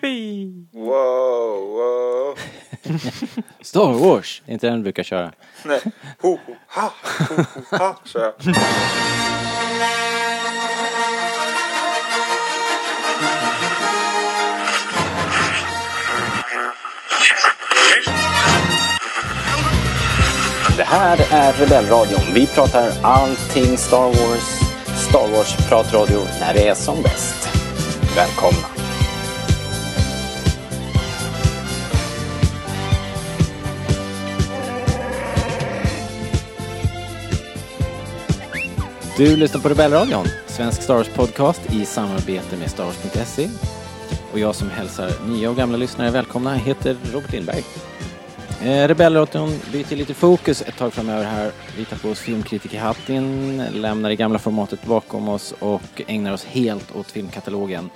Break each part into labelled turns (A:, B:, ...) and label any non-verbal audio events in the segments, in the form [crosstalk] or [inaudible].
A: Yippee!
B: Wow, wow.
C: Star Wars! Det är inte den du brukar köra.
B: Nej, ho, ho, ha, ho, ho, ha, kör jag.
D: Det här är Rebellradion. Vi pratar allting Star Wars. Star Wars-pratradio när det är som bäst. Välkomna!
C: Du lyssnar på Rebellradion, svensk Star Wars-podcast i samarbete med Star Wars.se. Och jag som hälsar nya och gamla lyssnare välkomna heter Robert Lindberg. Eh, Rebellradion byter lite fokus ett tag framöver här. Vi tar på oss filmkritikerhatten, lämnar det gamla formatet bakom oss och ägnar oss helt åt filmkatalogen.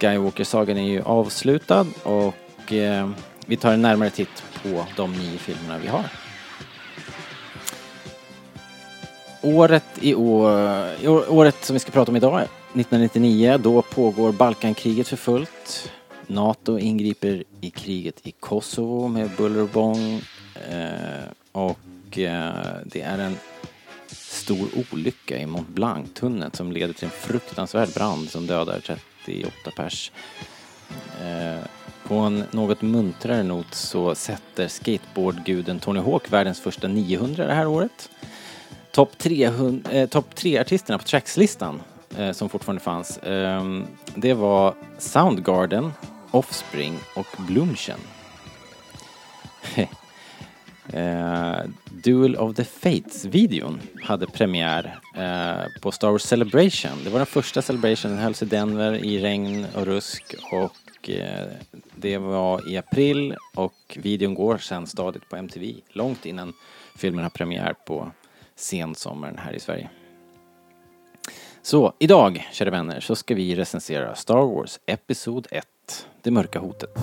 C: Skywalker-sagan är ju avslutad och eh, vi tar en närmare titt på de nio filmerna vi har. Året i år, i år- året som vi ska prata om idag, 1999, då pågår Balkankriget för fullt. NATO ingriper i kriget i Kosovo med buller och bång. Eh, och eh, det är en stor olycka i Mont Blanc-tunneln som leder till en fruktansvärd brand som dödar 38 pers. Eh, på en något muntrare not så sätter skateboardguden Tony Hawk världens första 900 det här året topp 300 eh, top 3 artisterna på trackslistan eh, som fortfarande fanns. ehm, det var Soundgarden, Offspring och Blumchen. eh, Duel of the Fates-videon hade premiär eh, på Star Wars Celebration. Det var den första Celebration, den hölls i Denver i regn och rusk och eh, det var i april och videon går sen stadigt på MTV långt innan filmen har premiär på sensommaren här i Sverige. Så idag, kära vänner, så ska vi recensera Star Wars Episod 1, Det mörka hotet.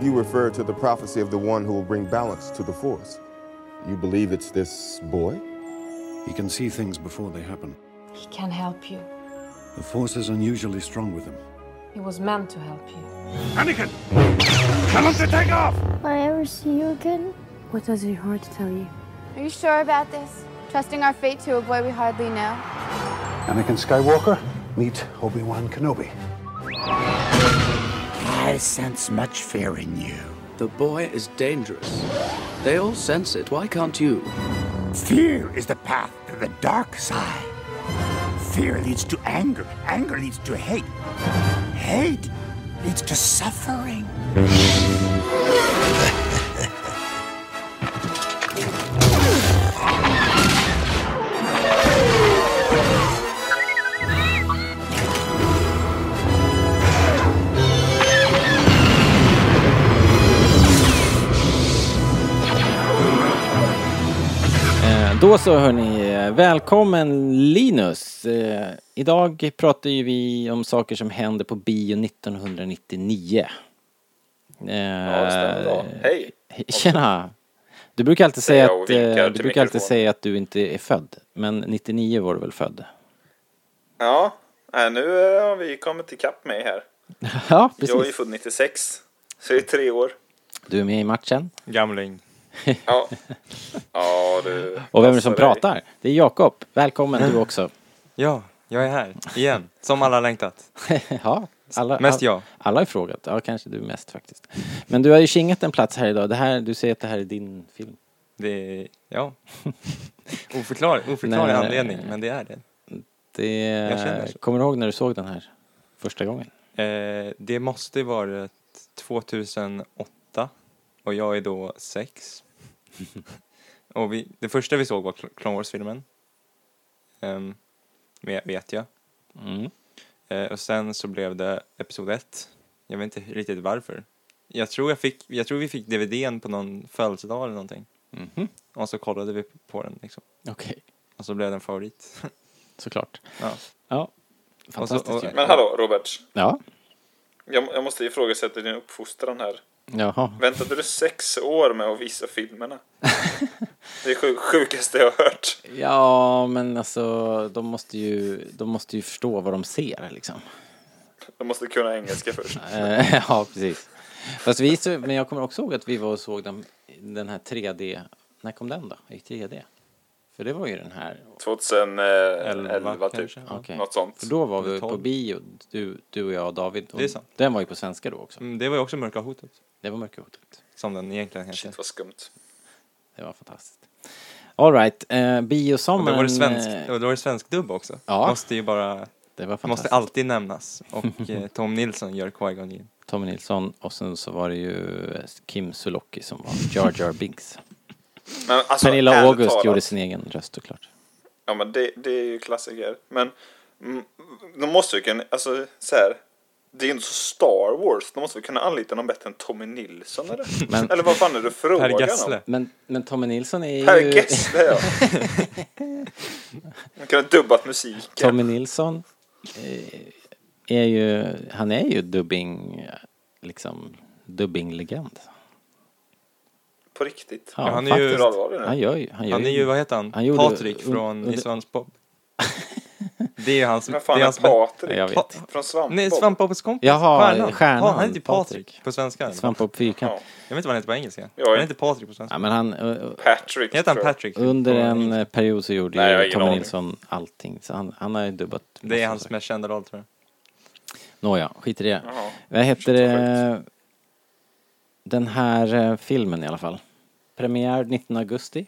E: You refer to the prophecy of the one who will bring balance to the Force. You believe it's this boy?
F: He can see things before they happen.
G: He can help you.
F: The force is unusually strong with him.
G: He was meant to help you.
H: Will I ever see you again?
I: What does your heart tell you?
H: Are you sure about this? Trusting our fate to a boy we hardly know?
F: Anakin Skywalker, meet Obi-Wan Kenobi.
J: I sense much fear in you. The boy is dangerous. They all sense it. Why can't you? Fear is the path to the dark side. Fear leads to anger. Anger leads to hate. Hate leads to suffering.
C: Eh, då så hörni, eh, välkommen Linus! Eh, idag pratar ju vi om saker som hände på bio 1999. Eh,
B: Ja, det stämmer bra. Hej!
C: Tjena! Du brukar alltid säga
B: jag och
C: att, eh,
B: vinkar
C: du
B: till
C: brukar alltid
B: mikrofonen.
C: säga att du inte är född, men 99 var du väl född?
B: Ja, nej, nu eh, har vi kommit ikapp mig här.
C: Ja,
B: Jag är ju
C: precis.
B: född 96, så det är tre år.
C: Du är med i matchen.
A: Gamling.
B: Ja, ja du.
C: Och vem är det som
B: passa dig.
C: pratar? Det är Jakob. Välkommen
B: [laughs]
C: du också.
A: Ja, jag är här. Igen. Som alla längtat.
C: ja, alla,
A: Mest
C: alla-
A: jag.
C: Alla har frågat. Ja, kanske du mest faktiskt. Men du har ju kingat en plats här idag. Det här, du säger att det här är din film.
A: Det är...
C: [laughs]
A: Ja. Oförklarlig, oförklarlig
C: Nej.
A: anledning, men det är det.
C: Det,
A: känner så.
C: kommer du ihåg när du såg den här första gången?
A: Eh, det måste ju varit 2008 och jag är då sex. och vi, det första vi såg var Cl- Clone Wars-filmen. Ehm, vet- vet jag.
C: Mm.
A: Eh, och sen så blev det episod 1. Jag vet inte riktigt varför. Jag tror, jag fick, jag tror vi fick DVDn på någon födelsedag eller någonting.
C: Mhm.
A: Och så kollade vi på den liksom.
C: Okej,
A: Och så blev den favorit.
C: såklart.
A: ja.
C: Ja. Fantastiskt
A: Och så- och-
C: ju.
B: Men hallå, Robert.
C: Ja.
B: Jag, jag måste ifrågasätta din uppfostran här.
C: Jaha.
B: Väntade du sex år med att visa filmerna? Det är sjuk, sjukaste jag har hört.
C: Ja, men alltså de måste ju, de måste ju förstå vad de ser liksom.
B: Jag måste kunna engelska först.
C: Eh, [laughs] ja, precis. Fast vi, så- men jag kommer också ihåg att vi var och såg den, den här 3D, när kom den då? I 3D? För det var ju den här,
B: 2011 eh, typ.
A: kanske.
C: Okej.
B: Något sånt.
C: för då var vi på
A: 12.
C: bio, du, du och jag och David. Och
A: Det är sant.
C: Den var ju på svenska då också.
A: Mm, det var ju också Mörka Hotet,
C: Det var mycket otroligt.
A: som den egentligen heter.
B: Shit vad skumt.
C: Det var fantastiskt. All right, eh,
A: Och
C: biosommaren.
A: då var det
C: eh,
A: svensk, och då var det svensk dubb också.
C: Ja.
A: Måste ju bara,
C: Det var
A: måste
C: fantastiskt.
A: alltid nämnas.
C: [laughs]
A: Och eh, Tom Nilsson gör Qui-Gon Jinn.
C: Tommy Nilsson och sen så var det ju eh, Kim Sulocki som var Jar Jar Binks.
B: Men alltså,
C: Pernilla
B: ärligt
C: August
B: talat.
C: gjorde sin egen röst såklart.
B: Ja men det, det är ju klassiker. Men mm, de måste ju kunna, alltså så här. Det är ju inte så Star Wars. De måste väl kunna anlita någon bättre än Tommy Nilsson eller?
C: Men-
B: Eller vad fan är det frågan
A: Per
B: om?
A: Gessle.
C: Men, men Tommy Nilsson är ju...
B: Per Gessle ja. De kunde ha dubbat musiken.
C: [laughs] Tommy Nilsson eh, är ju, han är ju dubbing, eh, liksom, dubbinglegend.
B: På riktigt.
C: Ja,
A: han är ju-
B: Hur
C: faktiskt.
B: allvarlig nu?
C: Han gör ju, han gör
A: Han är ju, vad heter han?
C: han gjorde-
A: Patrik från
C: under-
A: I
C: [laughs]
A: Svansbob. Det är ju hans...
B: Men fan
A: det
B: är
A: hans bä-
B: Patrik?
C: Jag vet.
B: Från Svampbob?
A: Nej, Svampbobs kompis.
C: Jaha, Stjärnan,
A: Stjärnan. Ja, han heter ju Patrik,
C: Patrik.
A: på svenska. eller?
C: Svamp och fyrkant.
B: Ja.
A: Jag vet inte vad han heter på engelska.
B: Ja,
A: han
B: ja.
A: heter Patrik på svenska.
C: Ja, men han, eh,
B: Patrick
A: Heter han
B: tror jag.
A: Patrick?
C: under
A: på
C: en
A: engelska?
C: eh, period så gjorde
B: Nej, jag har
C: ju
B: ingen
C: Tommy
B: aning.
C: Nilsson allting. Så han, han har ju dubbat.
A: Det är
C: massa
A: hans
C: saker.
A: mest kända roll tror jag.
C: Nåja, skit i det.
B: Jaha.
C: Vad heter
B: Shit, vad
C: det? Den här eh, filmen i alla fall. Premiär 19 augusti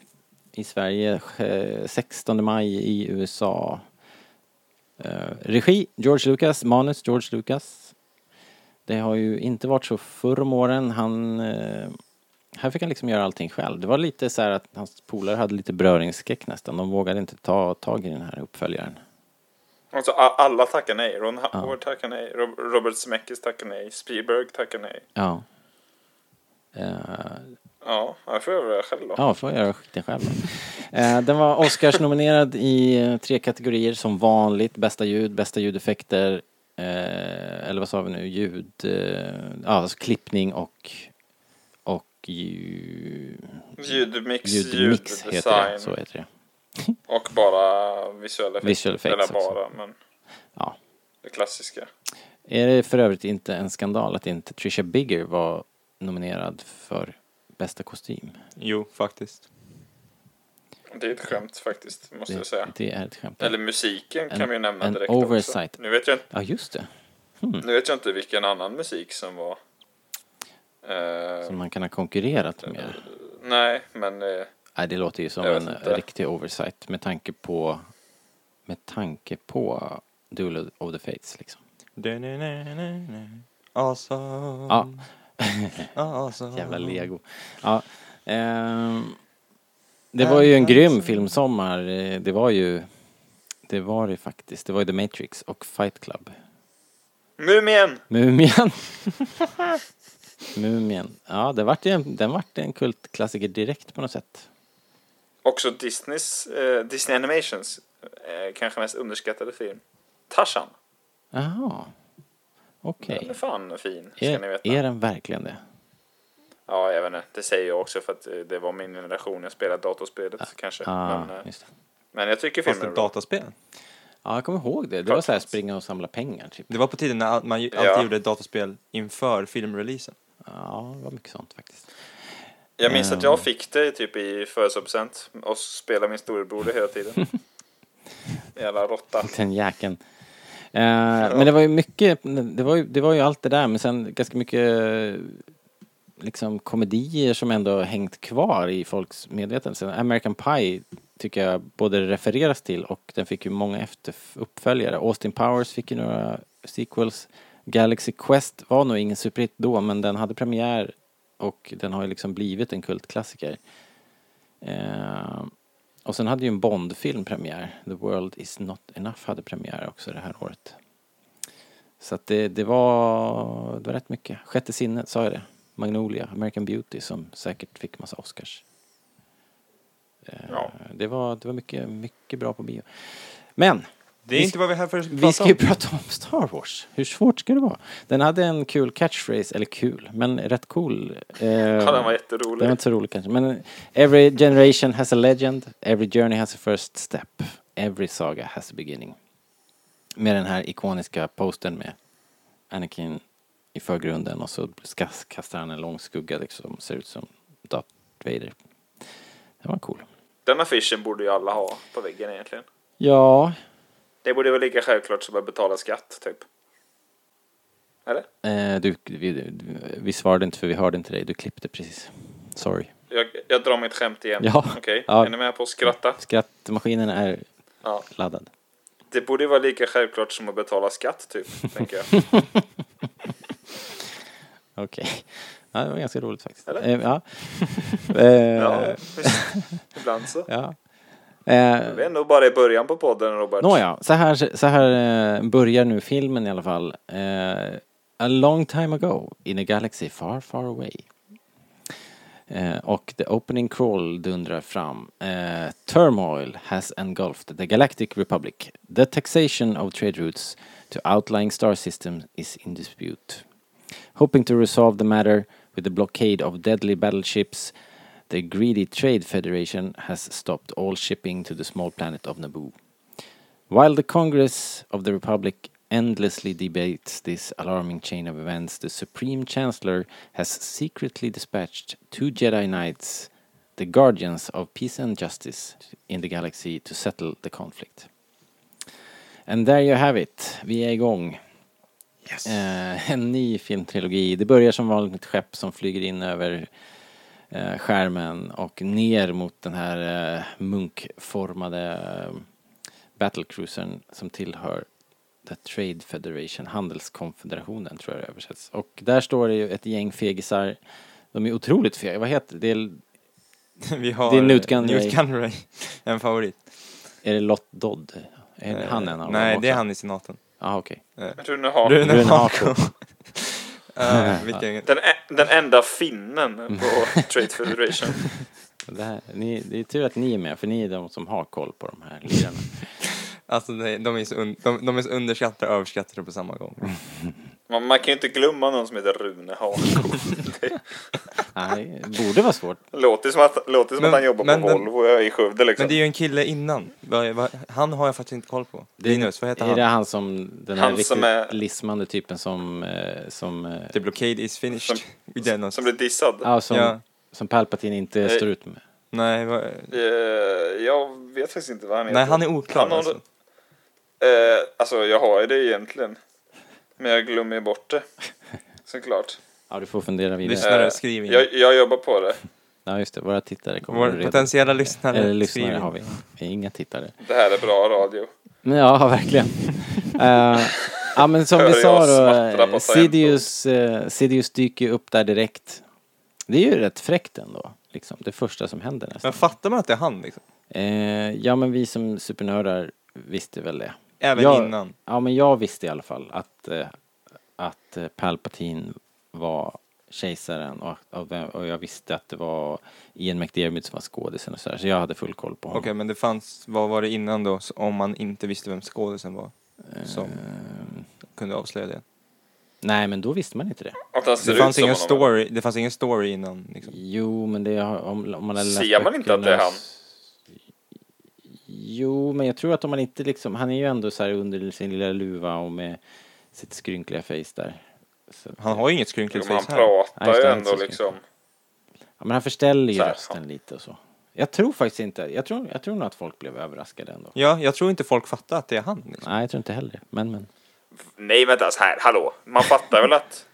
C: i Sverige, eh, 16 maj i USA. Eh, Regi George Lucas, manus George Lucas. Det har ju inte varit så förr om åren. Han, eh, här fick han liksom göra allting själv. Det var lite så här att hans polare hade lite beröringsskräck nästan. De vågade inte ta tag i den här uppföljaren.
B: Alltså a- alla tackar nej. Ron Howard tackar nej. Rob- Robert Zemeckis tackar nej. Spielberg tackar nej.
C: Ja. Eh,
B: Ja, jag får göra det själv då.
C: Ja, får jag göra skiten själv. då. Eh, Den var Oscars-nominerad i eh, tre kategorier som vanligt. Bästa ljud, bästa ljudeffekter, eh, eller vad sa vi nu, ljud, eh, ja, alltså klippning och, och ljud,
B: Ljudmix,
C: ljudmix heter det.
B: ljuddesign
C: Så heter det.
B: och bara visuella effekter.
C: Visual effects
B: Eller
C: också.
B: bara, men
C: Ja.
B: det klassiska.
C: Är det för övrigt inte en skandal att inte Trisha Bigger var nominerad för bästa kostym?
A: Jo, faktiskt.
B: Det är ett skämt faktiskt, måste jag säga.
C: Det, det är ett skämt.
B: Eller musiken
C: En-
B: kan vi ju nämna
C: en
B: direkt
C: oversight. Mm.
B: också. Nu vet, jag,
C: Ja, just det.
B: nu vet jag inte vilken annan musik som var. Eh,
C: Som man kan ha konkurrerat med.
B: nej, men eh,
C: Nej, det låter ju som
B: Jag
C: en eh,
B: vet inte.
C: riktig oversight med tanke på med tanke på Duel of the Fates liksom.
A: Awesome.
C: Ja,
A: [laughs] awesome.
C: jävla lego. Ja, ehm, det var ju en grym filmsommar. Eh, Det var ju det var det faktiskt. Det var ju The Matrix och Fight Club.
B: Mumien!
C: Mumien. Mumien. Ja, det vart ju en, den vart en kultklassiker direkt på något sätt.
B: Också Disneys, eh, Disney Animations eh, kanske mest underskattade film. Tarzan.
C: Jaha, okej.
B: Den är fan fin, ska ni
C: Är,
B: veta.
C: är den verkligen det?
B: Ja, jag vet inte. Det säger jag också för att eh, det var min generation jag spelade datorspelet kanske.
C: Ah,
B: men, eh,
C: just det.
B: men jag tycker
A: Fast
B: filmen är
A: ett
B: bra.
A: dataspel.
C: Ja, jag kommer ihåg det. Det
B: Klart
C: var så här
B: fanns.
C: springa och samla pengar typ.
A: Det var på tiden när all- man ju
B: Ja.
A: alltid gjorde ett dataspel inför filmreleasen.
C: Ja, det var mycket sånt faktiskt.
B: Jag minns att
C: Mm.
B: jag fick det typ i födelsedagspresent och spelade min storebror det hela
C: [laughs]
B: tiden. Jävla råtta.
C: Den jäkeln. Eh, Men det var ju mycket, det var ju, det var ju allt det där men sen ganska mycket eh, liksom komedier som ändå har hängt kvar i folks medvetande. Sen American Pie tycker jag både refereras till och den fick ju många efter uppföljare. Austin Powers fick ju några sequels. Galaxy Quest var nog ingen superhit då men den hade premiär och den har ju liksom blivit en kultklassiker. Eh, och sen hade ju en Bond-film premiär. The World Is Not Enough hade premiär också det här året. Så att det, det, var, det var rätt mycket. Sjätte sinnet, sa jag det? Magnolia, American Beauty som säkert fick massa Oscars. Eh,
B: Ja.
C: Det var, det var mycket, mycket bra på bio. Men
A: Det är inte vad vi är här för att prata
C: Vi ska ju
A: om.
C: prata om Star Wars. Hur svårt ska det vara? Den hade en kul catchphrase, eller kul, men rätt cool. Eh,
B: Ja, den var jätterolig.
C: Den var inte så rolig kanske, men Every generation has a legend, every journey has a first step, every saga has a beginning. Med den här ikoniska posten med Anakin i förgrunden och så ska- kastar han en lång skugga liksom, ser ut som Darth Vader. Den var cool.
B: Den affischen borde ju alla ha på väggen egentligen.
C: Ja,
B: Det borde väl lika självklart som att betala skatt, typ. Eller?
C: eh, du, vi, vi svarade inte för vi hörde inte dig, du klippte precis. Sorry.
B: Jag, jag drar mitt skämt igen.
C: Ja.
B: Okej,
C: Ja.
B: är ni med på att skratta?
C: Skrattmaskinen är
B: Ja.
C: laddad.
B: Det borde ju vara lika självklart som att betala skatt, typ, tänker
C: [laughs]
B: jag.
C: Okej. Ja, det var ganska roligt faktiskt.
B: Eller?
C: Eh, ja.
B: Ja, [laughs]
C: eh,
B: visst. Ibland så.
C: ja.
B: Vi
C: Eh,
B: är nog bara i början på podden, Robert.
C: Nåja, så här, så här eh, börjar nu filmen i alla fall. Eh, a long time ago in a galaxy far far away. Eh, och the opening crawl dundrar fram. Eh, turmoil has engulfed the galactic republic. The taxation of trade routes to outlying star systems is in dispute. Hoping to resolve the matter with the blockade of deadly battleships, the greedy Trade Federation has stopped all shipping to the small planet of Naboo. While the Congress of the Republic endlessly debates this alarming chain of events, the Supreme Chancellor has secretly dispatched two Jedi Knights, the guardians of peace and justice in the galaxy, to settle the conflict. And there you have it, vi är igång.
A: Yes.
C: Eh, en ny filmtrilogi. Det börjar som vanligt med ett skepp som flyger in över eh, skärmen och ner mot den här eh, munkformade eh, battlecruisern som tillhör The Trade Federation, handelskonfederationen tror jag det översätts. Och där står det ju ett gäng fegisar. De är otroligt fega. Vad heter det? Är,
A: [laughs] Vi har
C: Det är Newt Gunray.
A: Newt Gunray. En favorit.
C: är det Lot Dodd? Är
A: Eh,
C: han en av
A: Nej,
C: dem
A: det är
C: också?
A: han i senaten.
C: Ah, okej.
B: Rune Hag.
A: Rune,
C: Rune
A: Hako.
C: Hako. [laughs]
A: Eh, vilken...
B: Den, e- den enda finnen
A: Mm.
B: på [laughs] Trade Federation.
C: Det, här, ni, det är tur att ni är med, för ni är de som har koll på de här
A: [laughs]
C: lirarna.
A: Alltså, nej, de, är så un... de, de är så underskattade och överskattade på samma
C: Mm.
A: gång.
B: Man, man kan ju inte glömma någon som heter Rune Hag.
A: [laughs]
C: Nej, det borde vara svårt.
B: Låter som att, låter som
A: Men-
B: att han jobbar
A: men-
B: på
A: men-
B: Volvo och jag är i Skövde liksom.
A: Men det är ju en kille innan. Vad- vad- Han har jag faktiskt inte koll på. Linus, vad heter
C: Är
A: han?
C: det han som, den här
B: Han
C: riktigt
B: som är-
C: lismande typen som, eh, som, eh,
A: The blockade is finished. Det är något-
B: Som blir dissad.
C: ja, som,
A: Ja.
C: som Palpatine inte
B: Eh,
C: står ut med?
A: Nej, vad...
B: Eh, jag vet faktiskt inte vad han heter.
A: Nej, han är oklar
B: har-
A: alltså.
B: Eh, alltså jag har ju det egentligen. Men jag glömmer ju
A: [laughs]
B: bort det. Såklart.
C: Ja, du får fundera vidare.
A: Lyssna. Snälla, skriv in.
B: jag, jag jobbar på det.
C: Ja, just det, våra tittare kommer
A: Vår
C: redan.
A: potentiella lyssnare.
C: Eller
A: skriver
C: lyssnare
A: in.
C: har vi. vi är inga tittare.
B: Det här är bra radio.
C: Men Ja, [laughs] verkligen. Eh, ja, men som
B: Hör [laughs]
C: vi
B: jag
C: sa då,
B: smattra
C: eh,
B: på
C: Sidious, eh, Sidious dyker ju upp där direkt. Det är ju rätt fräckt ändå, liksom. Det första som händer nästan.
A: Men fattar man att det är han liksom?
C: Eh, ja, men vi som supernördar visste väl det.
A: Även
C: jag,
A: innan.
C: Ja, men jag visste i alla fall att, eh, att eh, Palpatine var kejsaren och, och, vem- och jag visste att det var Ian McDiarmid som var skådisen och sådär, så jag hade full koll på
A: Okej,
C: honom.
A: men det fanns, vad var det innan då, så- om man inte visste vem skådisen var?
C: Eh,
A: Som kunde avslöja det.
C: Nej, men då visste man inte det.
B: Att han ser
A: Det fanns
B: ut som
A: ingen
B: honom.
A: story, det fanns ingen story innan liksom.
C: Jo, men det har- om, om man hade läst
B: Ser man inte att det är
C: böckerna
B: han?
C: s- Jo, men jag tror att om man inte liksom, han är ju ändå så här under sin lilla luva och med sitt skrynkliga face där. Så att-
A: Han har ju inget
B: Jo,
A: skrynkligt
B: men han
A: face här.
B: pratar
C: Nej,
B: ju
C: just det, han är
B: ändå
C: inte så
B: liksom.
C: Ja, men han förställer ju
B: Så här,
C: rösten lite och så. Jag tror faktiskt inte, jag tror, jag tror nog att folk blev överraskade ändå.
A: Ja, jag tror inte folk fattar att det är han. Liksom.
C: Nej, jag tror inte heller det. Men, men.
B: Nej vänta, så här, hallå. Man fattar väl att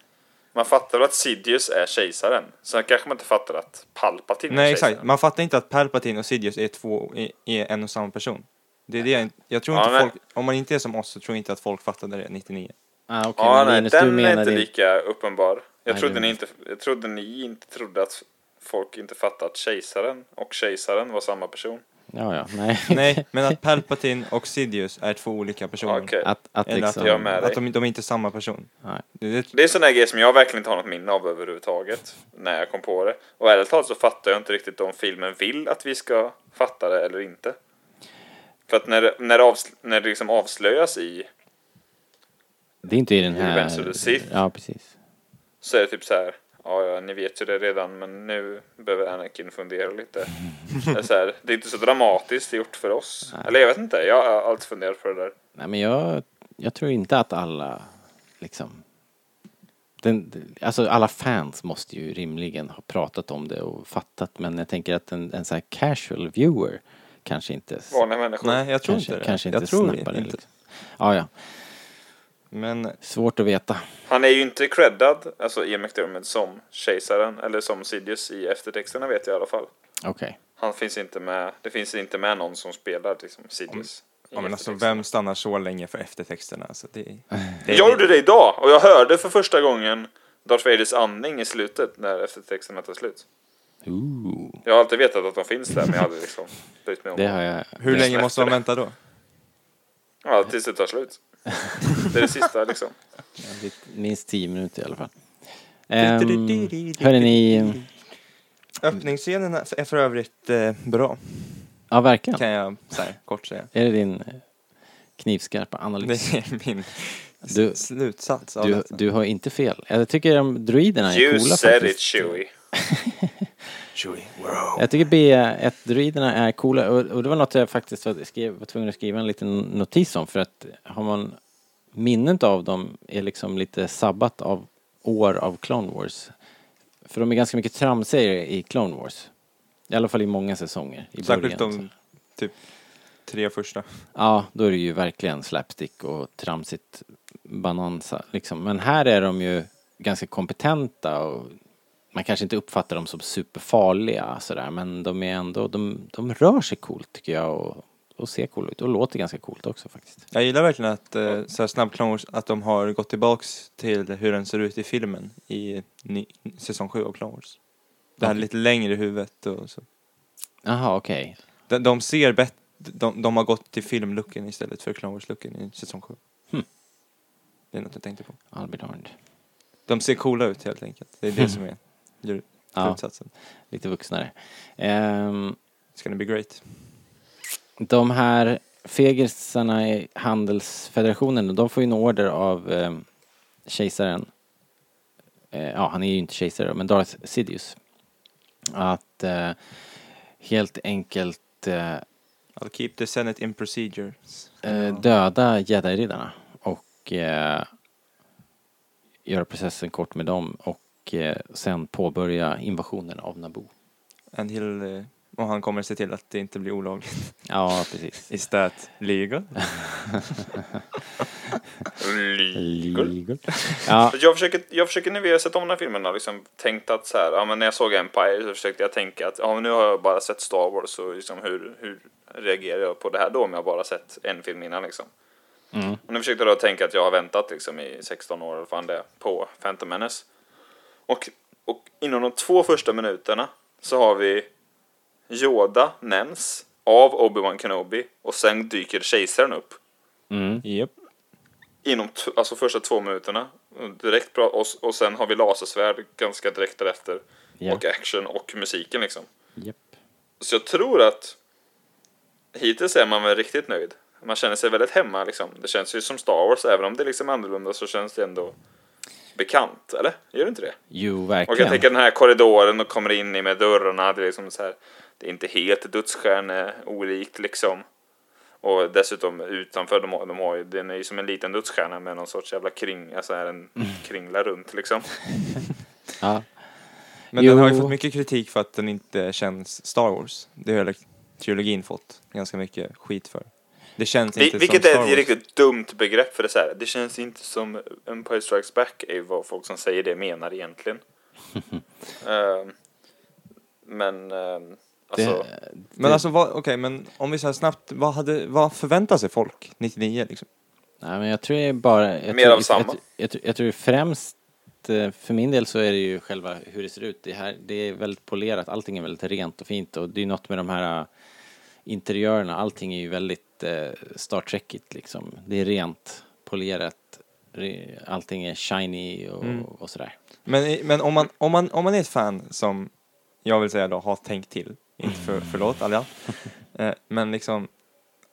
B: man fattar väl att Sidious är kejsaren. Sen kanske man inte fattar att Palpatine
A: Nej,
B: är kejsaren.
A: exakt. Man fattar inte att Palpatine och Sidious är, två, är- är en och samma person. Det är det jag, inte- jag tror
B: Ja,
A: inte
B: men-
A: folk, om man inte är som oss så tror jag inte att folk fattade det 99.
C: Ah, okay,
B: Ja,
C: men
B: nej,
C: Linus, du
B: den är
C: menar
B: inte
C: det.
B: lika uppenbar. Jag
C: Nej,
B: trodde,
C: det-
B: ni inte, jag trodde ni inte trodde att folk inte fattade att kejsaren och kejsaren var samma person.
C: Ja, ja, nej.
A: Nej, men att Palpatine och Sidious är två olika personer.
B: Okej.
C: att, att
A: Eller att,
C: liksom...
B: jag med dig.
A: att de, de är inte samma person.
C: Nej.
A: Det, det,
B: Det är sån här grej som jag verkligen inte har något minne av överhuvudtaget. När jag kom på det. Och ärligt talat så fattar jag inte riktigt om filmen vill att vi ska fatta det eller inte. För att när, det- när, det avs- när det liksom avslöjas i
C: Det är inte i den här...
B: Revenge of the Sith.
C: Ja, precis.
B: så är det typ så här. Ja, ja, ni vet ju det redan, men nu behöver Anakin fundera lite. Det är, så här, det är inte så dramatiskt gjort för oss. Eller jag vet inte, jag har alltid funderat på det där.
C: Nej, men jag, jag tror inte att alla liksom... Den, alltså alla fans måste ju rimligen ha pratat om det och fattat men jag tänker att en, en så här casual viewer kanske inte...
B: Vanliga människor.
A: Nej, jag tror
C: kanske,
A: inte det.
C: Kanske inte
A: jag tror
C: snappar det.
A: inte.
C: Liksom. Ja, ja.
A: Men
C: Svårt att veta.
B: Han är ju inte creddad, alltså Ian McDermott, som kejsaren eller som Sidious i eftertexterna vet jag i alla fall.
C: Okej.
B: Han finns inte med, det finns inte med någon som spelar liksom Sidious. i
A: Ja, men alltså,
B: eftertexterna.
A: vem stannar så länge för eftertexterna? Alltså,
C: [laughs]
A: det, det,
B: Jag gjorde det idag och jag hörde för första gången Darth Vaders andning i slutet när eftertexterna tar slut.
C: Ooh.
B: Jag har alltid vetat att de finns där men jag hade liksom brytt mig om
C: Det
B: det.
C: har jag...
A: Hur
C: det,
A: länge måste man vänta då?
B: Ja, tills det tar
C: [laughs]
B: slut. Det är det sista liksom.
C: Minst tio minuter i alla fall. Um, hörde ni...
A: Öppningsscenen är för övrigt eh, bra,
C: Ja, verkligen.
A: kan jag så här, kort säga.
C: Är det din eh, knivskarpa
A: Det
C: analys?
A: är min s-
C: Du-
A: slutsats av
C: Du,
A: detta.
C: du har inte fel. Jag tycker de druiderna är
B: You
C: coola
B: said it
C: faktiskt.
B: Chewie.
C: Jag tycker B1-druiderna är coola och, och det var något jag faktiskt var, skrev, var tvungen att skriva en liten notis om för att har man minnet av dem är liksom lite sabbat av år av Clone Wars. För de är ganska mycket tramsiga i Clone Wars. I alla fall i många säsonger. I
A: Särskilt
C: början, alltså.
A: de typ tre första.
C: Ja, då är det ju verkligen slapstick och tramsigt banansa liksom. Men här är de ju ganska kompetenta och man kanske inte uppfattar dem som superfarliga sådär men de är ändå, de, de rör sig coolt tycker jag och, och ser coola ut och låter ganska coolt också faktiskt.
A: Jag gillar verkligen att eh, så här snabb Clone Wars, att de har gått tillbaks till hur den ser ut i filmen i ny, säsong 7 av Clone Wars. Det här
C: Okej.
A: lite längre i huvudet och så.
C: Jaha, okej.
A: De, de ser bättre, de, de har gått till filmlooken istället för Clone Wars-looken i säsong 7.
C: Hmm.
A: Det är något jag tänkte på.
C: I'll be darned.
A: De ser coola ut helt enkelt. Det är det som är dru-
C: Ja.
A: slutsatsen.
C: Lite vuxnare. Ehm,
A: It's gonna be great.
C: De här fegisarna i handelsfederationen, de får ju en order av eh, kejsaren. Eh, ja, han är ju inte kejsare men Darth Sidious. Att eh, helt enkelt eh,
A: I'll keep the Senate in procedures.
C: eh, döda jedi-riddarna och eh, göra processen kort med dem och eh, sen påbörja invasionen av Naboo.
A: And he'll, eh, och han kommer se till att det inte blir olagligt.
C: Ja, precis.
A: Is that legal?
B: Legal.
C: Ja,
B: Jag försöker, jag försöker när vi har sett om den här filmen har liksom tänkt att så här, ja men när jag såg Empire så försökte jag tänka att ja men nu har jag bara sett Star Wars och liksom hur, hur reagerar jag på det här då om jag bara sett en film innan liksom. Och nu försökte jag då tänka att jag har väntat liksom i 16 år eller vad fan det är, på Phantom Menace. Och, och inom de två första minuterna så har vi Yoda nämns av Obi-Wan Kenobi och sen dyker kejsaren upp
A: Japp.
B: inom t- alltså första två minuterna. Direkt bra, och, s- och sen har vi lasersvärd ganska direkt därefter.
C: Ja.
B: Och action och musiken liksom.
C: japp.
B: Så jag tror att hittills är man väl riktigt nöjd. Man känner sig väldigt hemma liksom. Det känns ju som Star Wars, även om det är liksom annorlunda så känns det ändå bekant, eller? Gör det inte det?
C: Jo,
B: Och jag
C: verkligen.
B: tänker den här korridoren och kommer in i med dörrarna, det är liksom så här, det är inte helt dödsstjärne-olikt liksom. Och dessutom utanför, de har, de har ju, den är ju som en liten dödsstjärna med någon sorts jävla kring, alltså är en
A: Mm.
B: kringla runt liksom.
A: [laughs]
C: Ja.
A: Men den har ju
C: Jo.
A: fått mycket kritik för att den inte känns Star Wars. Det har hela trilogin fått ganska mycket skit för. Det känns
B: Vi,
A: inte
B: vilket
A: som
B: är
A: Star Wars.
B: ett riktigt dumt begrepp för det är så här, det känns inte som Empire Strikes Back är ju vad folk som säger det
A: [laughs]
B: menar egentligen. Ehm, men, ehm, alltså.
C: Det-
A: Men alltså, vad, okej, men om vi så här snabbt, vad, hade, vad förväntar sig folk 99 liksom?
C: Nej, men jag tror det är bara... Jag
B: Mer
C: tror,
B: av samma.
C: Jag, jag, jag, tror- jag tror främst, eh, för min del så är det ju själva hur det ser ut. Det, här, det är väldigt polerat, allting är väldigt rent och fint och det är något med de här eh, interiörerna, allting är ju väldigt eh, Star Trekigt liksom. Det är rent, polerat, re, allting är shiny och,
B: Mm.
C: och sådär.
A: Men, i- men om, man, om, man, om man är ett fan som, jag vill säga då, har tänkt till, inte för, förlåt alla, eh, men liksom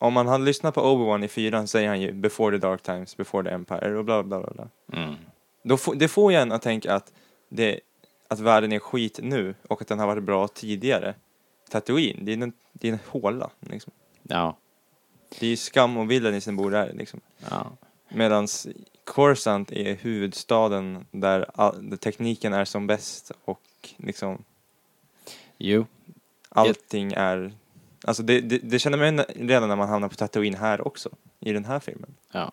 A: om man hade lyssnat på Obi-Wan i fyran säger han ju before the dark times, before the empire och bla bla bla. bla.
C: Mm.
A: Då få, det får ju en att tänka att, det, att världen är skit nu och att den har varit bra tidigare. Tatooine, det är en, det är en håla. Liksom.
C: Ja.
A: Det är ju skam och villan som bor där. Liksom.
C: ja.
A: Medan Coruscant är huvudstaden där, all, där tekniken är som bäst och liksom
C: Jo.
A: allting är... Alltså det, det, det känner man ju redan när man hamnar på Tatooine här också, i den här filmen.
C: Ja.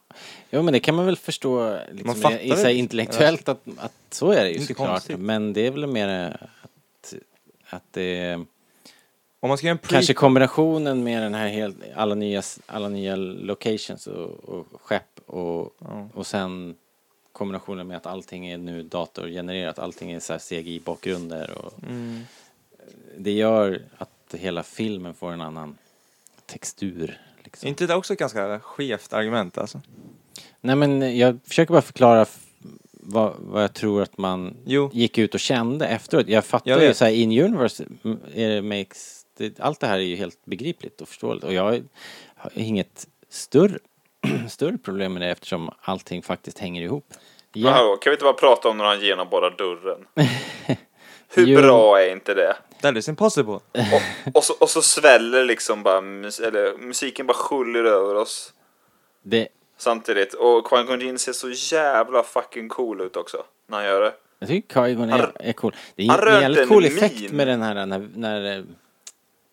C: Jo, men det kan man väl förstå liksom,
A: fattar
C: i, i, så här
A: det.
C: intellektuellt att, att så är det ju
A: Inte
C: såklart.
A: konstigt.
C: Men det är väl mer eh, att, att det är
A: Om man ska göra en pre-
C: kanske kombinationen med den här helt, alla, nya, s- alla nya locations och, och skepp och,
A: Ja.
C: och sen kombinationen med att allting är nu datorgenererat, allting är så här CGI-bakgrunder och
A: Mm.
C: det gör att hela filmen får en annan textur. Liksom.
A: Är inte det också ett ganska skevt argument alltså?
C: Nej men jag försöker bara förklara f- vad, vad jag tror att man
A: Jo.
C: gick ut och kände efteråt. Jag fattar
A: Jag
C: ju
A: vet.
C: så här in universe, m- är det makes, det, allt det här är ju helt begripligt och förståeligt och jag har inget större, [clears throat] större problem med det eftersom allting faktiskt hänger ihop.
B: Men
C: Ja,
B: hallå, kan vi inte bara prata om när han genomborrar
C: [laughs]
B: dörren? Hur
C: Jo.
B: bra är inte det?
A: That is impossible.
B: Och, och, så, och så sväller liksom bara, mus- eller musiken bara sköljer över oss
C: det,
B: samtidigt. Och Quan Jin ser så jävla fucking cool ut också när han gör det.
C: jag tycker Kaigon
B: Han-
C: är, är cool. Det
B: han
C: är en
B: röt
C: jävligt
B: en
C: cool
B: min.
C: effekt med den här när, när eh,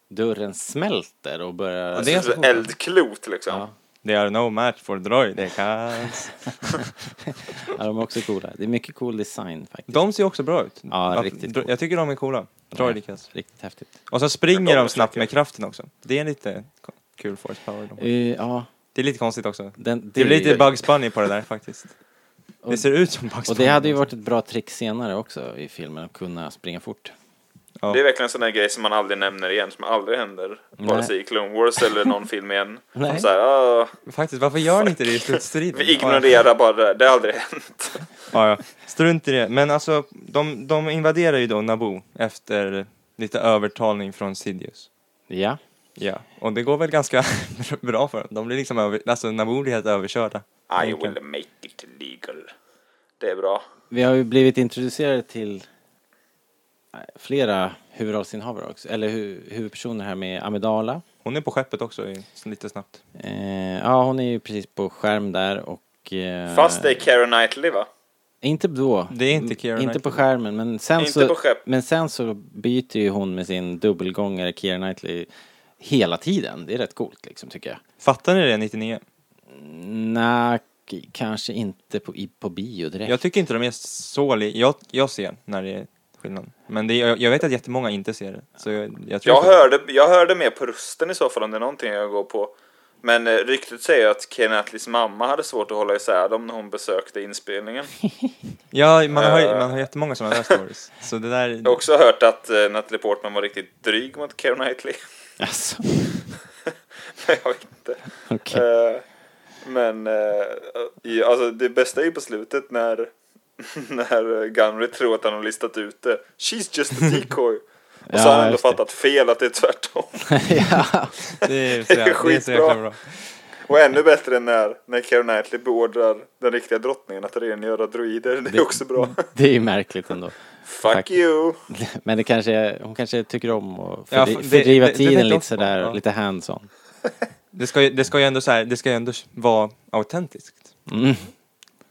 C: dörren smälter och börjar...
B: Det är en eldklot liksom.
C: Ja.
A: They are no match for
C: [laughs]
A: droidicas.
C: Ja, de är också coola. Det är mycket cool design faktiskt.
A: De ser också bra ut.
C: Ja,
A: Att-
C: riktigt
A: dro- Jag tycker de är coola. Droidicas.
C: Riktigt häftigt.
A: Och så springer
B: De
A: de snabbt
B: försöker.
A: med kraften också. Det är lite ko- kul force power. De. har.
C: Eh, ja,
A: Det är lite konstigt också.
C: den,
A: Det blir lite Bugs Bunny på det där faktiskt. Det ser ut som Bugs
C: [laughs] Och
A: Bunny.
C: det hade ju varit ett bra trick senare också i filmen, att kunna springa fort.
A: Ja.
B: Det är verkligen en sån där grej som man aldrig nämner igen, som aldrig händer. Vare
C: Nej.
B: sig i Clone Wars eller
C: [laughs]
B: någon film igen.
C: Nej.
B: Som så här, "Ah,
A: Faktiskt, varför gör ni inte det i slutstriden?
B: vi ignorerar bara det, det har aldrig
C: [laughs]
B: hänt.
A: Ja, ja. Strunt i det. Men alltså, de, de invaderar ju då Naboo efter lite övertalning från Sidious.
C: Ja,
A: Ja, och det går väl ganska [laughs] bra för dem. De blir liksom över, alltså Naboo blir helt överkörda.
B: I
A: Egentligen.
B: will make it legal. Det är bra.
C: vi har ju blivit introducerade till eh, flera huvudrollsinnehavare också, eller hu- huvudpersoner här med Amidala.
A: Hon är på skeppet också, i- lite snabbt.
C: Eh, ja, hon är ju precis på skärm där och... Eh,
B: Fast det är Keira Knightley va?
C: Inte då.
A: Det är inte Keira
C: Mm, Inte
A: Knightley.
C: på skärmen, men sen
B: Inte
C: så...
B: på skepp.
C: Men sen så byter ju hon med sin dubbelgångare Keira Knightley hela tiden. Det är rätt coolt liksom, tycker jag.
A: Fattar ni det 99?
C: Nej, k- kanske inte på, i, på bio direkt.
A: Jag tycker inte de är så li- jag, jag ser när det är skillnad. Men det, är- jag, jag vet att jättemånga inte ser det. Så jag, jag tror
B: Jag
A: att-
B: hörde, jag hörde mer på rösten i så fall om det är någonting jag går på. Men eh, ryktet säger att Keira Knightleys mamma hade svårt att hålla isär dem när hon besökte inspelningen.
A: Ja, man har, ju-
B: Eh.
A: man har jättemånga sådana där stories. Så det där...
B: [laughs] Jag har också hört att eh, Natalie Portman var riktigt dryg mot Keira Knightley. [laughs]
C: Alltså, [laughs]
B: jag vet inte.
C: okej.
B: Eh, men eh, i- alltså, det bästa är ju på slutet när, [laughs] när Gunry tror att han har listat ut det. She's just a
C: [laughs]
B: decoy. Och så
C: Ja,
B: har han ändå
C: just det.
B: fattat fel att det är tvärtom.
C: ja.
A: Det är så,
B: [laughs] Det är
A: jävla- det är så jäkla
B: skitbra.
A: bra.
B: Och ännu bättre än när, när Keira Knightley beordrar den riktiga drottningen att rengöra droider. Det är också bra.
C: Det är ju märkligt ändå.
B: [laughs] Fuck you!
C: Men det kanske, är- hon kanske tycker om att
A: Ja,
C: fördri-
A: för- det-
C: fördriva
A: det- det
C: tiden
A: tänkte jag
C: lite
A: också på,
C: sådär,
A: ja.
C: lite hands-on.
A: Det ska ju, det ska ju ändå så här, det ska ju ändå vara autentiskt.
C: Mm.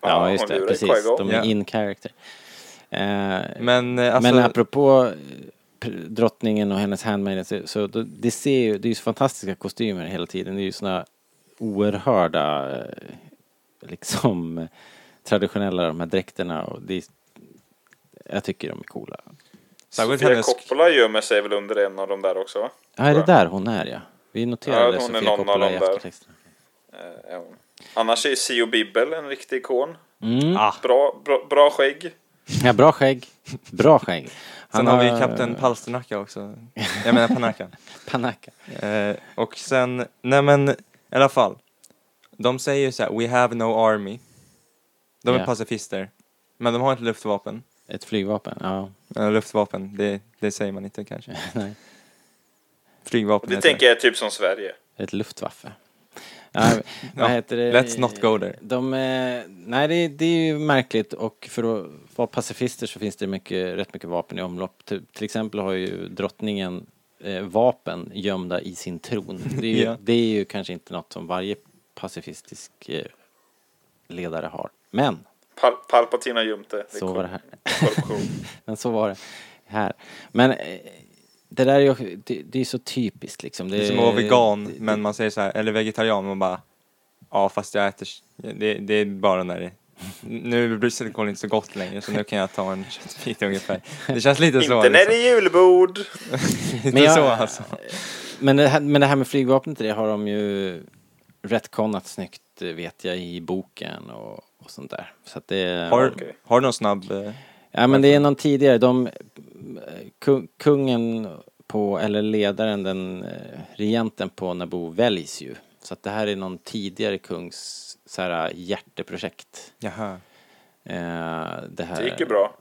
C: Ja,
B: hon
C: just det,
B: lurar
C: precis.
B: Qui-Gon.
C: De
A: Ja.
C: är in character. Eh,
A: Men eh, alltså...
C: Men apropå eh, pr- drottningen och hennes handmaiden så, så då, det ser ju, det är ju så fantastiska kostymer hela tiden. Det är ju såna oerhörda eh, liksom [laughs] eh, traditionella de här dräkterna och det är, jag tycker de är coola.
A: särskilt
B: Sofia
A: hennes...
B: Coppola gömmer sig väl under en av de där också va?
C: Ja, är det
B: Bra.
C: där hon är ja? Vi
B: Ja,
C: noterade
B: hon är någon
C: Sofia
B: av
C: Coppola i
B: dem där.
C: eftertexten.
B: Eh, ja. Annars är ju Sio Bibbel en riktig ikon.
C: Mm.
A: Ah,
B: Bra, bra, bra skägg.
C: Ja, bra skägg. Bra skägg.
A: sen har vi kapten Palsternacka också. Jag menar
C: [laughs]
A: Panaka.
C: Panaka.
A: Eh, och sen, nej men i alla fall. De säger ju så här, we have no army. De är
C: Ja.
A: pacifister. Men de har inte luftvapen.
C: Ett flygvapen, ja.
A: Eh, luftvapen, det, det säger man inte kanske.
C: [laughs] Nej.
A: Flygvapen
B: Det
A: heter
B: tänker jag är typ som Sverige.
C: Ett luftvaffe. Ja,
A: Ja,
C: vad heter det?
A: let's not go there.
C: De, eh, nej, det, det är ju märkligt och för att vara pacifister så finns det mycket, rätt mycket vapen i omlopp. Till, till exempel har ju drottningen eh, vapen gömda i sin tron. Det är,
A: [laughs]
C: ju,
A: Ja.
C: det är ju kanske inte något som varje pacifistisk eh, ledare har. Men
B: Pal- Palpatine har gömt det. det är
C: så var det här. [laughs]
B: Cool. Cool.
C: Men så var det här. Men eh, det där är ju det, det är så typiskt liksom.
A: Det är som att vara vegan, men man säger så här, eller vegetarian, man bara ja fast jag äter, det, det är bara när det nu blir silikon inte så gott längre så nu kan jag ta en köttbit ungefär. Det känns lite så.
B: Inte när
C: liksom.
B: det är julbord!
A: Inte
C: Men jag-
A: så alltså.
C: Men det, här, men det här med flygvapnet, det har de ju retconat snyggt, eh, vet jag, i boken och, och sånt där. Så att det...
A: Har,
B: okej.
A: har du någon snabb, eh,
C: Ja, men det är någon tidigare, de... eh, ku- Kungen på, eller ledaren, den eh, regenten på Naboo väljs ju. Så att det här är någon tidigare kungs så här, hjärteprojekt.
A: jaha,
C: Eh, det, här...
B: Det gick ju bra.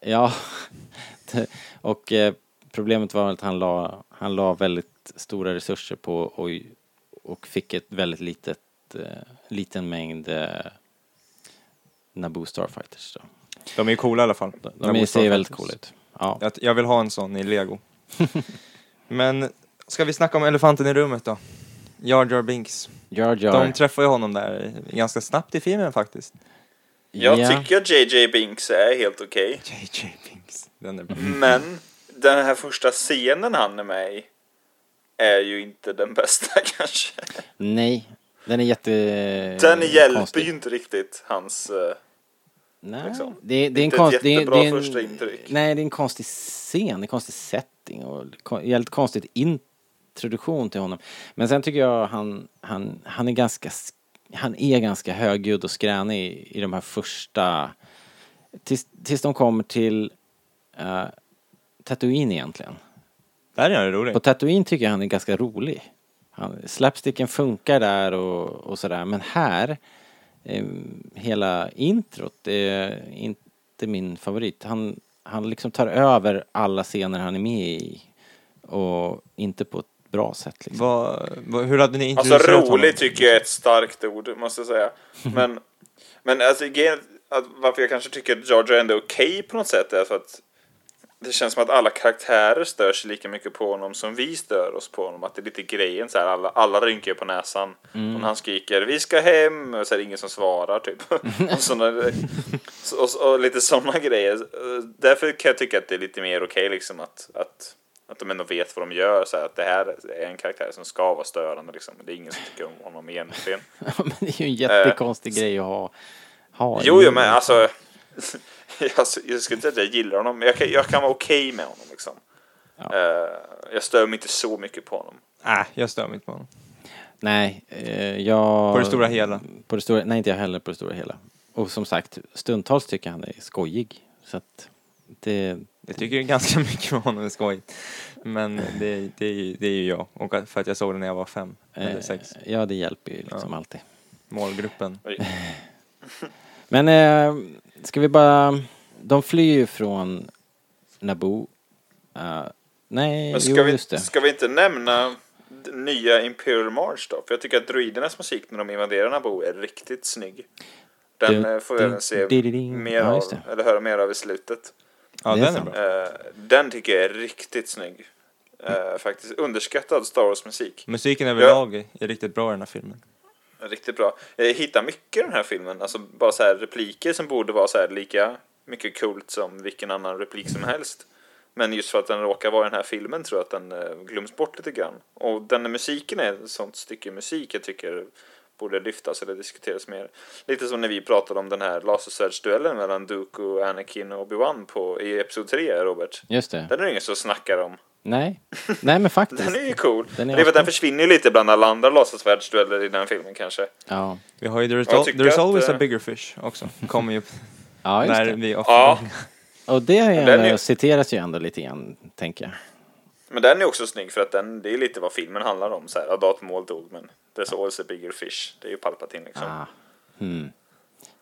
C: Ja, [laughs] Det- och eh, problemet var att han la, han la väldigt stora resurser på och, och fick ett väldigt litet, eh, liten mängd eh, Naboo Starfighters. Då.
A: de är ju coola i alla fall.
C: De, de ser ju väldigt coola ut. Ja.
A: Jag, jag vill ha en sån i lego. men ska vi snacka om elefanten i rummet då? Jar Jar Binks.
C: Jar Jar.
A: De träffar ju honom där ganska snabbt i filmen faktiskt.
B: Jag
C: Ja.
B: tycker att JJ Binks är helt okej.
A: JJ Binks. Den är bra. Mm.
B: Men den här första scenen han är med i är ju inte den bästa [laughs] kanske.
C: Nej, den är jätte...
B: Den hjälper
C: konstig.
B: ju inte riktigt hans... eh,
C: Nej,
B: liksom.
C: det, det är en
B: Inte ett
C: konst, det är,
B: jättebra
C: det är en,
B: första intryck.
C: Nej, det är en konstig scen, en konstig setting och kon- jävligt konstigt introduktion till honom. Men sen tycker jag han, han, han är ganska, sk- han är ganska högljudd och skränig i, i de här första, tills, tills de kommer till uh, Tatooine egentligen.
A: Där är han rolig.
C: På Tatooine tycker jag han är ganska rolig. Han, slapsticken funkar där och, och sådär, men här, eh, hela introt är inte min favorit. Han, han liksom tar över alla scener han är med i och inte på ett bra sätt liksom.
A: Vad- vad- hur hade ni
B: Alltså
A: introducerat honom?
B: rolig tycker jag är ett starkt ord, måste jag säga. Men, men alltså grejen att varför jag kanske tycker att Georgia ändå är okej på något sätt är för att det känns som att alla karaktärer stör sig lika mycket på honom som vi stör oss på honom. Att det är lite grejen så här, alla, alla rynkar ju på näsan. Och när han skriker vi ska hem och så är det ingen som svarar typ. och, såna, så- och, och lite [laughs] sådana grejer. Eh, Därför kan jag tycka att det är lite mer okej liksom att, att att de ändå vet vad de gör, så här, att det här är en karaktär som ska vara störande liksom. Det är ingen som tycker om honom egentligen.
C: [laughs] men det är ju en jättekonstig
A: Eh,
C: grej att ha. ha i
B: Jo, jo,
C: livet.
B: men alltså. [laughs] Jag, s- jag skulle inte säga att jag gillar honom, men jag kan, jag kan vara okej med honom liksom. Eh, jag stör mig inte så mycket på honom.
A: Nej, Äh, jag stör mig inte på honom.
C: Nej, eh, jag...
A: På det stora hela.
C: På det stora, nej, inte jag heller på det stora hela. Och som sagt, stundtals tycker jag han är skojig. Så att det,
A: Jag tycker ganska [laughs] mycket om honom, det är skojigt. Men det, det, är ju- det är ju jag, och att- för att jag såg den när jag var fem, eller
C: Eh,
A: sex.
C: Ja, det hjälper ju liksom
A: Ja.
C: alltid.
A: Målgruppen.
C: Men eh, ska vi bara... De flyr ju från Naboo. Eh, nej,
B: Men ska,
C: jo,
B: vi,
C: just det.
B: ska vi inte nämna d- nya Imperial March då? För jag tycker att druidernas musik när de invaderar Naboo är riktigt snygg. Den
C: Du-
B: eh, får vi
C: du-
B: även se
C: di- di- ding.
B: mer
C: Ja,
B: av,
C: just det.
B: eller höra mer av i slutet.
A: Ja,
C: Det är
A: den är
C: sant.
A: bra.
B: Eh, den tycker jag är riktigt snygg. Eh, faktiskt underskattad Star Wars-musik.
A: Musiken överlag är- är riktigt bra i den här filmen.
B: Riktigt bra. Jag hittar mycket i den här filmen. Alltså bara så här repliker som borde vara så här lika mycket coolt som vilken annan replik som helst. Men just för att den råkar vara i den här filmen tror jag att den eh, glöms bort lite grann. Och den här musiken är ett sånt stycke musik jag tycker borde lyftas eller diskuteras mer. Lite som när vi pratade om den här lasersvärdsduellen mellan Dooku, Anakin och Obi-Wan på, i Episod 3, Robert.
C: Just det.
B: Den är det ingen som snackar om.
C: Nej. nej, men
B: [laughs]
C: faktiskt.
B: Den är ju cool.
C: Den är
B: det är för att
C: ascool.
B: den försvinner ju lite bland alla andra lasersvärdsdueller i den filmen kanske.
C: Ja,
A: Vi har ju There is,
B: Jag
A: al-
B: tycker
A: there is
B: att,
A: always
B: eh,
A: a bigger fish också. Kommer ju
C: [laughs] ja just
A: när
C: det.
A: vi ofta...
B: Ja,
C: Och det är ju
B: Den är-
C: ändå- citeras ju ändå lite grann, tänker jag.
B: men den är också snygg för att den, det är lite vad filmen handlar om. Så här, ja, Darth dog, men there's always a bigger fish. Det är ju Palpatine liksom.
C: Ah. Hmm.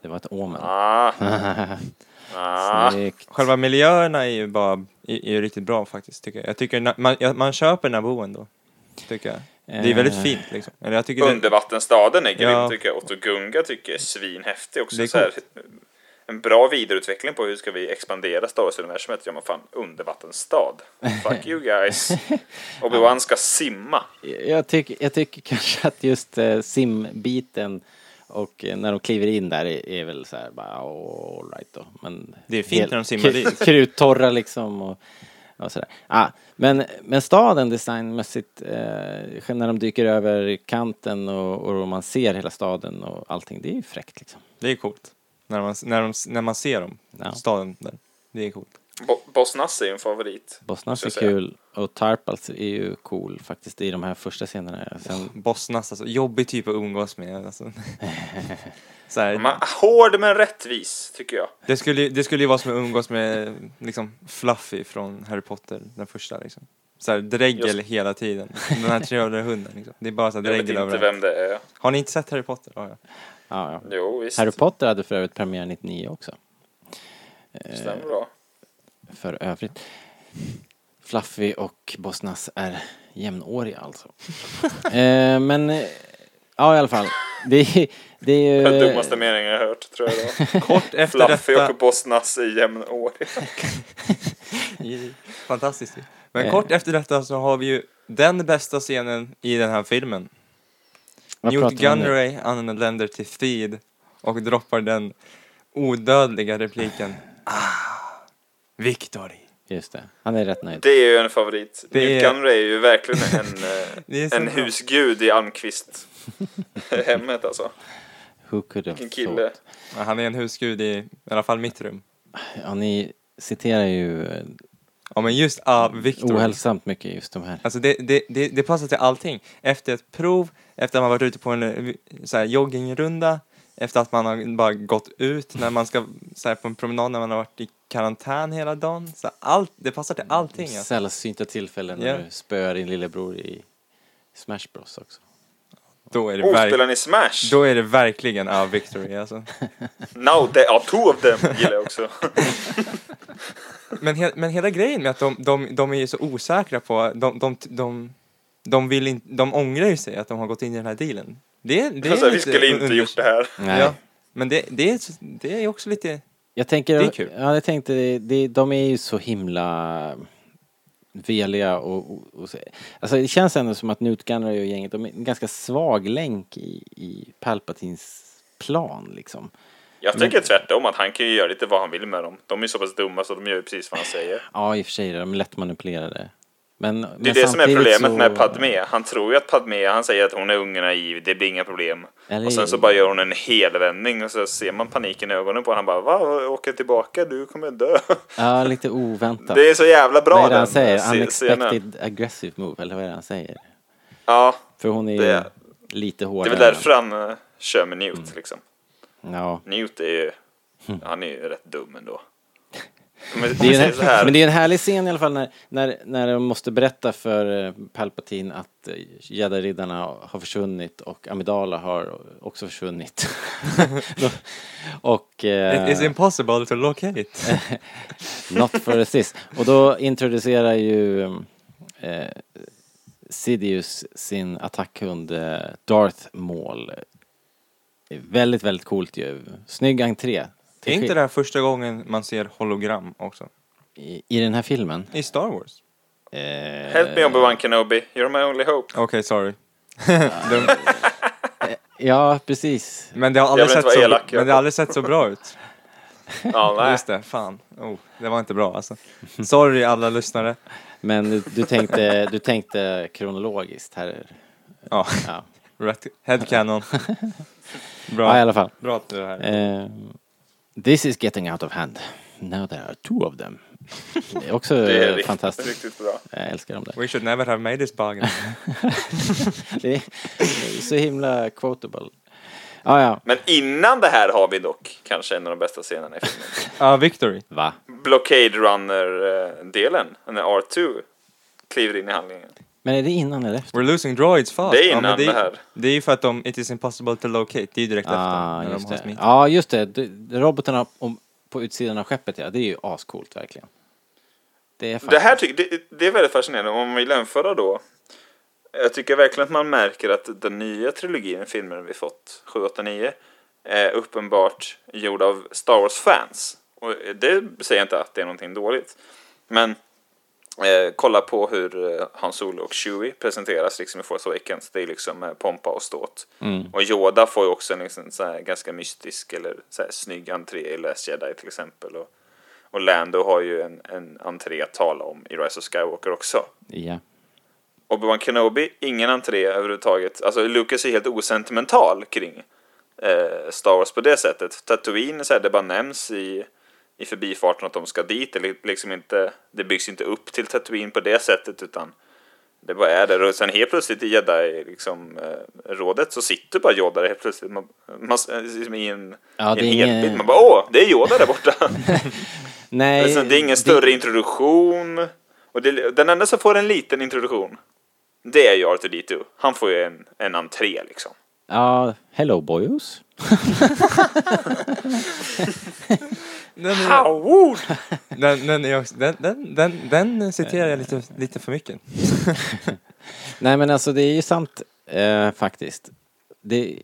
C: Det var ett omen.
B: Ah.
A: [laughs]
B: ah.
C: Snyggt.
A: Själva miljöerna är ju bara är, är ju riktigt bra faktiskt, tycker jag. Jag tycker na- man, jag, man köper Naboo ändå, tycker jag. Det är
C: Eh.
A: väldigt fint liksom. Eller jag tycker det,
B: Undervattensstaden är grym
A: Ja.
B: tycker jag. Otto Gunga tycker jag är svinhäftig också.
A: Det är
B: så här, en bra vidareutveckling på hur ska vi expandera Star Wars-universumet. Ja men fan, undervattensstad. Fuck you guys.
A: [laughs]
B: Obi-Wan ska simma.
C: Jag, tycker, jag tycker [laughs] kanske att just eh, simbiten och eh, när de kliver in där är, är väl så här bara all right då. Men
A: Det är fint
C: hel-
A: när de simmar
C: kru-
A: dit.
C: [laughs] Kruttorra liksom och, och sådär. Ah, men, men staden designmässigt, eh, när de dyker över kanten och, och man ser hela staden och allting, det är ju fräckt liksom.
A: det är coolt. När man, när, de, när man ser dem,
C: Ja.
A: staden där. Det är coolt.
B: Bo Boss Nass är ju en favorit.
C: Bosnas
B: Så
C: är
B: att säga.
C: kul och Tarpals är ju cool faktiskt i de här första scenerna. Sen,
A: Bosnas alltså, jobbig typ att umgås med. Alltså. så här,
B: Man, hård men rättvis, tycker jag.
A: Det skulle, ju- det skulle ju vara som att umgås med liksom, Fluffy från Harry Potter, den första liksom. Såhär dregel hela tiden. Den här trevliga hunden liksom. Det är bara såhär
B: Jag vet
A: dregel
B: inte
A: överallt.
B: vem det är.
A: Har ni inte sett Harry Potter?
B: [laughs]
A: Ja, ja.
C: ja, ja.
B: Jo, visst.
C: Harry Potter hade för övrigt premiär 99 också. Eh,
B: Stämmer bra.
C: för övrigt. Fluffy och Bosnas är jämnåriga alltså.
B: [laughs]
C: eh, men, eh, ja i alla fall. Det är, det är ju...
B: Den dummaste meningen jag hört,
A: [laughs]
B: tror jag det var.
A: Kort Eh, efter
B: Fluffy
A: detta...
B: och Boss Nass är jämnåriga.
A: Fantastiskt ju. Men kort efter detta så har vi ju den bästa scenen i den här filmen.
C: Vad
A: Newt
C: pratar vi om nu?
A: Gunray anländer till Theed och droppar den odödliga repliken. Ah, victory.
C: Just det, han är rätt nöjd.
B: Det är ju en favorit.
A: Det
B: Newt
A: är-
B: Gunray är ju verkligen
A: [laughs]
B: en,
A: Det är
B: eh,
A: så
B: en
A: bra.
B: husgud
A: [laughs]
B: i Almqvist-hemmet alltså.
C: Who could have
B: Vilken kille.
C: thought?
A: Ja, han är en husgud i, i alla fall mitt rum.
C: Ja, ni citerar ju eh,
A: Ja men just ah, victory.
C: ohälsamt mycket just de här.
A: Alltså det, det, det, det passar till allting. Efter ett prov, efter att man varit ute på en eh, så här, joggingrunda, efter att man har bara gått ut när man ska så här, på en promenad när man har varit i karantän hela dagen. Så här, allt, det passar till allting. Alltså.
C: Sällsynta tillfällen när
A: Ja.
C: du spöar din lillebror i Smash Bros också.
A: Då, är det
B: Oh, spelar
A: verk,
B: ni Smash?
A: då är det verkligen ah, victory alltså.
B: Now there are two of them, gillar jag också.
A: Men, he, men hela grejen med att de, de, de är ju så osäkra på, de, de, de, de, vill in, de ångrar ju sig att de har gått in i den här dealen. Det, [laughs] det är
B: Alltså, vi
A: lite
B: skulle inte
A: under-
B: gjort det här.
C: Nej.
A: Ja, men det, det, är, det är också lite...
C: Jag tänker,
A: Det är kul.
C: Ja, jag tänkte, det- det, de är ju så himla veliga och, och, och så- alltså det känns ändå som att Newt Gunray och gänget, de är en ganska svag länk i, i Palpatins plan liksom.
B: Jag tänker tvärtom, att han kan ju göra lite vad han vill med dem. De är ju så pass dumma så de gör ju precis vad han säger.
C: Ja, i och för sig, de är lätt manipulerade. Men, men
B: Det är det som är
C: samtidigt
B: problemet
C: så-
B: med Padme. Han tror ju att Padme, han säger att hon är ung och naiv, det blir inga problem.
C: Eller-
B: Och sen så bara gör hon en helvändning och så ser man paniken i ögonen på honom. Han bara, va? Åker tillbaka? Du kommer dö.
C: Ja, lite oväntat.
B: Det är så jävla bra
C: vad är det han
B: den
C: säger?
B: se- scenen.
C: Unexpected aggressive move, eller vad är det han säger?
B: Ja,
C: För hon är ju
B: Det- det
C: lite
B: är
C: hårdare.
B: väl därför han eh, kör med Newt
C: Mm.
B: liksom.
C: Ja.
B: Newt är ju, han är ju rätt dum
C: [laughs]
B: ändå. Men
C: Mm.
B: [laughs]
C: Det är
B: säger
C: en,
B: så här.
C: men det är en härlig scen i alla fall när, när, när de måste berätta för eh, Palpatine att eh, Jedi-riddarna har försvunnit och Amidala har också försvunnit. [laughs] och... eh,
A: It is impossible to
C: [laughs]
A: locate.
C: Not for assist. Och då introducerar ju eh, Sidious sin attackhund eh, Darth Maul. Väldigt, väldigt coolt ju. Snygg entré.
A: Det
C: Till
A: är inte
C: skill-
A: det här första gången man ser hologram också?
C: I, I den här filmen.
A: I Star Wars?
C: Eh,
B: Help me Obi-Wan Kenobi, you're my only
C: [laughs]
B: hope.
A: Okej, sorry. De,
C: ja, precis.
A: men det har
B: Jag
A: aldrig,
B: vill inte
A: sett
B: vara
A: så,
B: elak,
A: men
B: Jakob.
A: det har aldrig sett så bra ut.
B: Ja, [laughs] nej.
A: Just det, fan. Oh, det var inte bra alltså. Sorry alla lyssnare.
C: Men du, du, tänkte, du tänkte kronologiskt här.
A: Ja, [laughs]
C: Ja,
A: rätt.
C: [laughs]
A: Headcanon.
C: ja i
A: Bra.
C: alla fall.
A: Bra att du är här.
C: Eh, this is getting out of hand. Now there are two of them. Det är
B: [laughs]
C: också
B: Det är riktigt,
C: fantastiskt.
B: riktigt bra.
C: Jag älskar dem där.
A: We should never have made this
C: [laughs]
A: bargain.
C: Det är, det är så himla quotable. Ja, ja.
B: Men innan det här har vi dock kanske en av de bästa scenerna i filmen.
C: Ah,
A: Ja, victory.
C: Va?
B: Blockade Runner-delen, när R2 kliver in i handlingen.
C: Men är det innan eller efter?
A: We're losing droids fast.
B: Det är
A: men
B: innan
A: är-
B: det här.
A: Det är ju för att de, it is impossible to locate, det är ju direkt
C: Ah,
A: efter. När de
C: just
A: har
C: det.
A: smitt.
C: Ja, just det. Du- Robotarna om, på utsidan av skeppet, ja. Det är ju ascoolt verkligen. Det är
B: Det
C: faktiskt...
B: här tycker det, det är väldigt fascinerande. Om vi jämför då Jag tycker verkligen att man märker att den nya trilogin, filmen vi fått, 7, 8, 9, är uppenbart gjord av Star Wars-fans. Och det säger jag inte att det är någonting dåligt. Men eh, kolla på hur eh, Han Solo och Chewie presenteras liksom i Force Awakens. Det är liksom eh, pompa och ståt.
A: Mm.
B: Och Yoda får ju också en liksom, så här, ganska mystisk eller så här, snygg entré i Last Jedi till exempel. Och, och Lando har ju en, en entré att tala om i Rise of Skywalker också.
C: Ja.
B: Obi-Wan Kenobi, ingen entré överhuvudtaget. Alltså Lucas är helt osentimental kring eh, Star Wars på det sättet. Tatooine, så här, det bara nämns i, i förbifarten att de ska dit. Det, li- liksom inte, det byggs inte upp till Tatooine på det sättet utan det bara är där. Och sen helt plötsligt i jedi-rådet liksom, eh, rådet så sitter bara Yoda där helt plötsligt man, man, liksom i en,
C: Ja,
B: i
C: det
B: en
C: är
B: helbild.
C: ingen-
B: Man bara åh, det är Yoda där
C: [laughs]
B: borta.
C: Nej,
B: Alltså, det är ingen större introduktion. Och det, den enda som får en liten introduktion, det är ju Arthur D2. Han får ju en, en entré liksom.
C: Ja, hello boys.
A: Den,
B: Howard!
A: [laughs] den, den, är också- den, den, den, den citerar jag lite,
C: Eh.
A: lite för mycket.
C: Nej men alltså det är ju sant eh, faktiskt. Det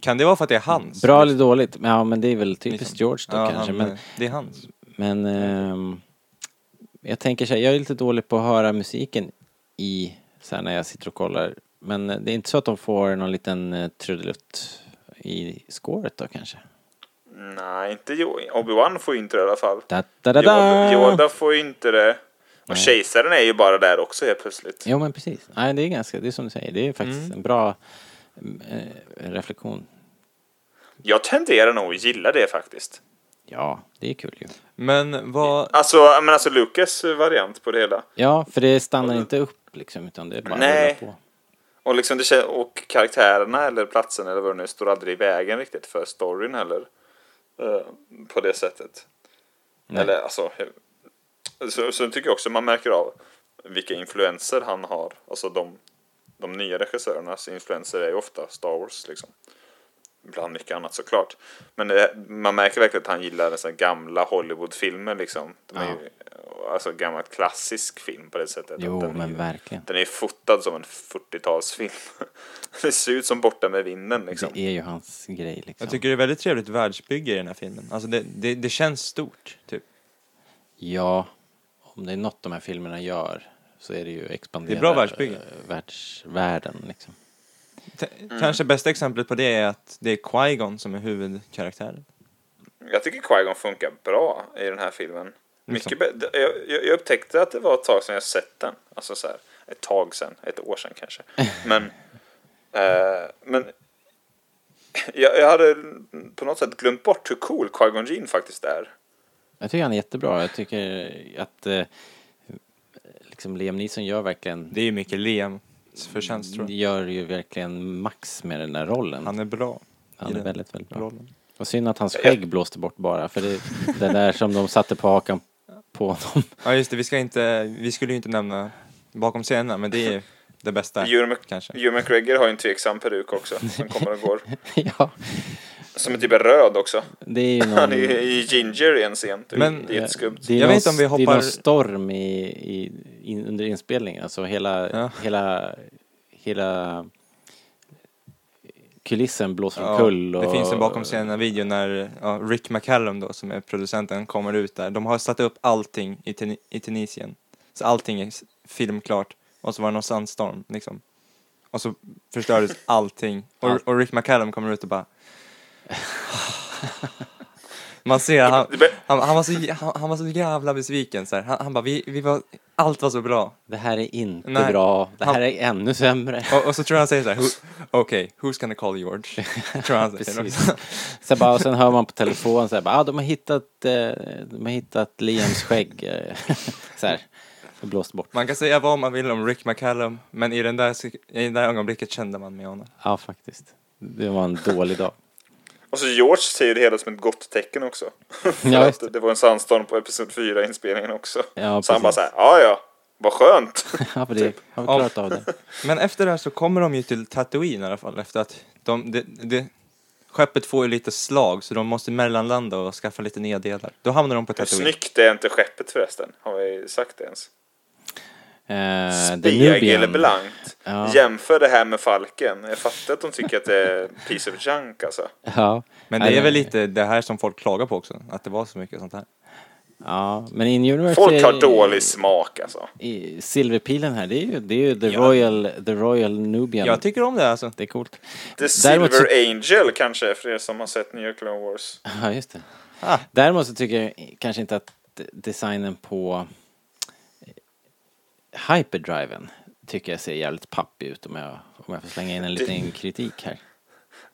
A: Kan det vara för att det är hans? Liksom.
C: bra eller dåligt, men, ja, men det är väl typiskt George då
A: Ja,
C: kanske.
A: han,
C: Men,
A: eh, det är hans.
C: men ehm, jag tänker så här, jag är lite dålig på att höra musiken i, så här när jag sitter och kollar. Men eh, det är inte så att de får någon liten eh, trudelutt i scoret då kanske?
B: Nej, inte Jo- Obi-Wan får ju inte det i alla fall.
C: Da, da, da, da.
B: Yoda, Yoda får ju inte det. Och kejsaren är ju bara där också helt plötsligt.
C: Jo men precis. Nej det är ganska, det är som du säger, det är faktiskt
A: Mm.
C: en bra eh, reflektion.
B: Jag tenderar nog att gilla det faktiskt.
C: Ja, det är kul ju.
A: Men vad...
B: Alltså, ja, men alltså Lucas variant på det hela.
C: Ja, för det stannar inte upp liksom, utan det är bara
B: Nej.
C: rullar på.
B: Och, liksom det, kän- och karaktärerna eller platsen eller vad det nu är, står aldrig i vägen riktigt för storyn heller. Eh, på det sättet. Eller alltså. eh, Så, så tycker jag också man märker av vilka influenser han har. Alltså de, de nya regissörernas influenser är ju ofta Star Wars liksom. Bland mycket annat såklart. Men det, man märker verkligen att han gillar dessa gamla Hollywoodfilmer liksom. De är ju, alltså gammal klassisk film på det sättet. Att
C: Jo,
B: den är
C: men
B: ju-
C: verkligen.
B: den är fotad som en 40-talsfilm. [laughs] Det ser ut som Borta med vinden liksom.
C: Det är ju hans grej liksom.
A: Jag tycker det är väldigt trevligt världsbygge i den här filmen. Alltså det, det, det känns stort, typ.
C: Ja, om det är något de här filmerna gör så är det ju expandera
A: Det är bra världsbygge.
C: eh, världsvärlden liksom.
A: T-
B: Mm.
A: Kanske bästa exemplet på det är att det är Qui-Gon som är huvudkaraktären.
B: Jag tycker Qui-Gon funkar bra i den här filmen.
A: Liksom.
B: Mycket bä- jag, jag jag upptäckte att det var ett tag sedan jag sett den. Alltså så här, ett tag sedan, ett år sedan
A: [laughs]
B: kanske. Men, eh, men jag, jag hade på något sätt glömt bort hur cool Qui-Gon Jinn faktiskt är.
C: Jag tycker han är jättebra. Jag tycker att eh, liksom Liam Neeson gör verkligen,
A: Det är ju mycket Liams förtjänst, tror jag.
C: gör ju verkligen max med den där rollen.
A: Han är bra. i
C: Han är
A: den
C: väldigt, väldigt bra.
A: rollen.
C: Och synd att hans skägg blåste bort bara, för det, det där som de satte på hakan på honom. [laughs]
A: Ja, just det. Vi, ska inte, vi skulle ju inte nämna bakom scenerna, men det är det bästa,
B: Ewan Mc-
A: kanske.
B: Ewan McGregor har ju en tveksam peruk också, som kommer
A: [laughs]
B: och går.
C: ja,
B: Som är typ är röd också.
C: det är ju någon...
B: Han är ju i ginger i en scen. Det är,
A: Men- eh,
B: det är jätteskumt.
C: Eh, Det är
A: Jag
C: någon,
A: vet inte om vi
C: Det är
A: hoppar-
C: någon storm i, i, in, under inspelningen, alltså hela,
A: Ja.
C: hela, hela kulissen blåser
A: Ja,
C: omkull. och,
A: Det finns en bakom scenerna-video när ja, Rick McCallum då, som är producenten, kommer ut där. De har satt upp allting i, Tun- i Tunisien. Så allting är s- filmklart. Och så var det någon sandstorm, liksom. Och så
C: [laughs]
A: förstördes allting. Och, och Rick McCallum kommer ut och bara... [laughs] Man ser, han, han, han, var så, jä- han, han var så jävla besviken så här. Han, han bara, vi, vi var, allt var så bra.
C: Det här är inte
A: Nej,
C: bra, det här
A: han-
C: är
A: [laughs]
C: ännu sämre.
A: Och, och så tror jag han säger så här, "Who- okej, who's gonna call
C: [laughs]
A: George? Tror jag han säger
C: Precis.
A: också.
C: Sen, bara, och sen hör man på telefon så här, bara, ah, de, har hittat, eh, de har hittat Liams skägg. [laughs] eh, så här, och blåst bort.
A: Man kan säga vad man vill om Rick McCallum, men i, den där, sek- i det där ögonblicket kände man med honom.
C: Ja, faktiskt. Det var en dålig dag. [laughs]
B: Och så George ser ju det hela som ett gott tecken också. [laughs] För
C: Ja, just
B: att det var en sandstorm på episod 4 inspelningen också.
C: Ja,
B: så han bara
C: precis.
B: såhär, ja ja, vad
C: [laughs]
B: skönt.
C: Ja, för det har vi
A: Typ. Ja.
C: klarat av det. Eh,
A: Men efter det här så kommer de ju till Tatooine i alla fall, efter att de, det, det, skeppet får ju lite slag, så de måste mellanlanda och skaffa lite nya delar. Då hamnar de på
B: Hur
A: Tatooine.
B: snyggt är inte skeppet förresten? Har vi sagt det ens?
C: Eh, The
B: Spiag
C: Nubian.
B: eller blankt.
C: Ja.
B: Jämför det här med falken. Jag fattar att de tycker att det är piece of junk alltså.
C: Ja.
A: Men
C: Nej,
A: det är
C: den-
A: väl lite det här som folk klagar på också, att det var så mycket sånt här.
C: Ja, men in universe
B: Folk har
C: är-
B: dålig smak alltså.
C: i Silverpilen här, det är ju, det är ju the, Royal, the Royal Nubian.
A: Jag tycker om det alltså.
C: det är coolt. [laughs]
B: The
C: Däremot så-
B: Silver Angel kanske för er som har sett nya Clone Wars.
C: Ja, just det.
A: Ah.
C: Däremot så tycker jag kanske inte att de- designen på eh, hyperdriven tycker jag ser jävligt pappig ut om jag, om jag får slänga in en liten kritik här.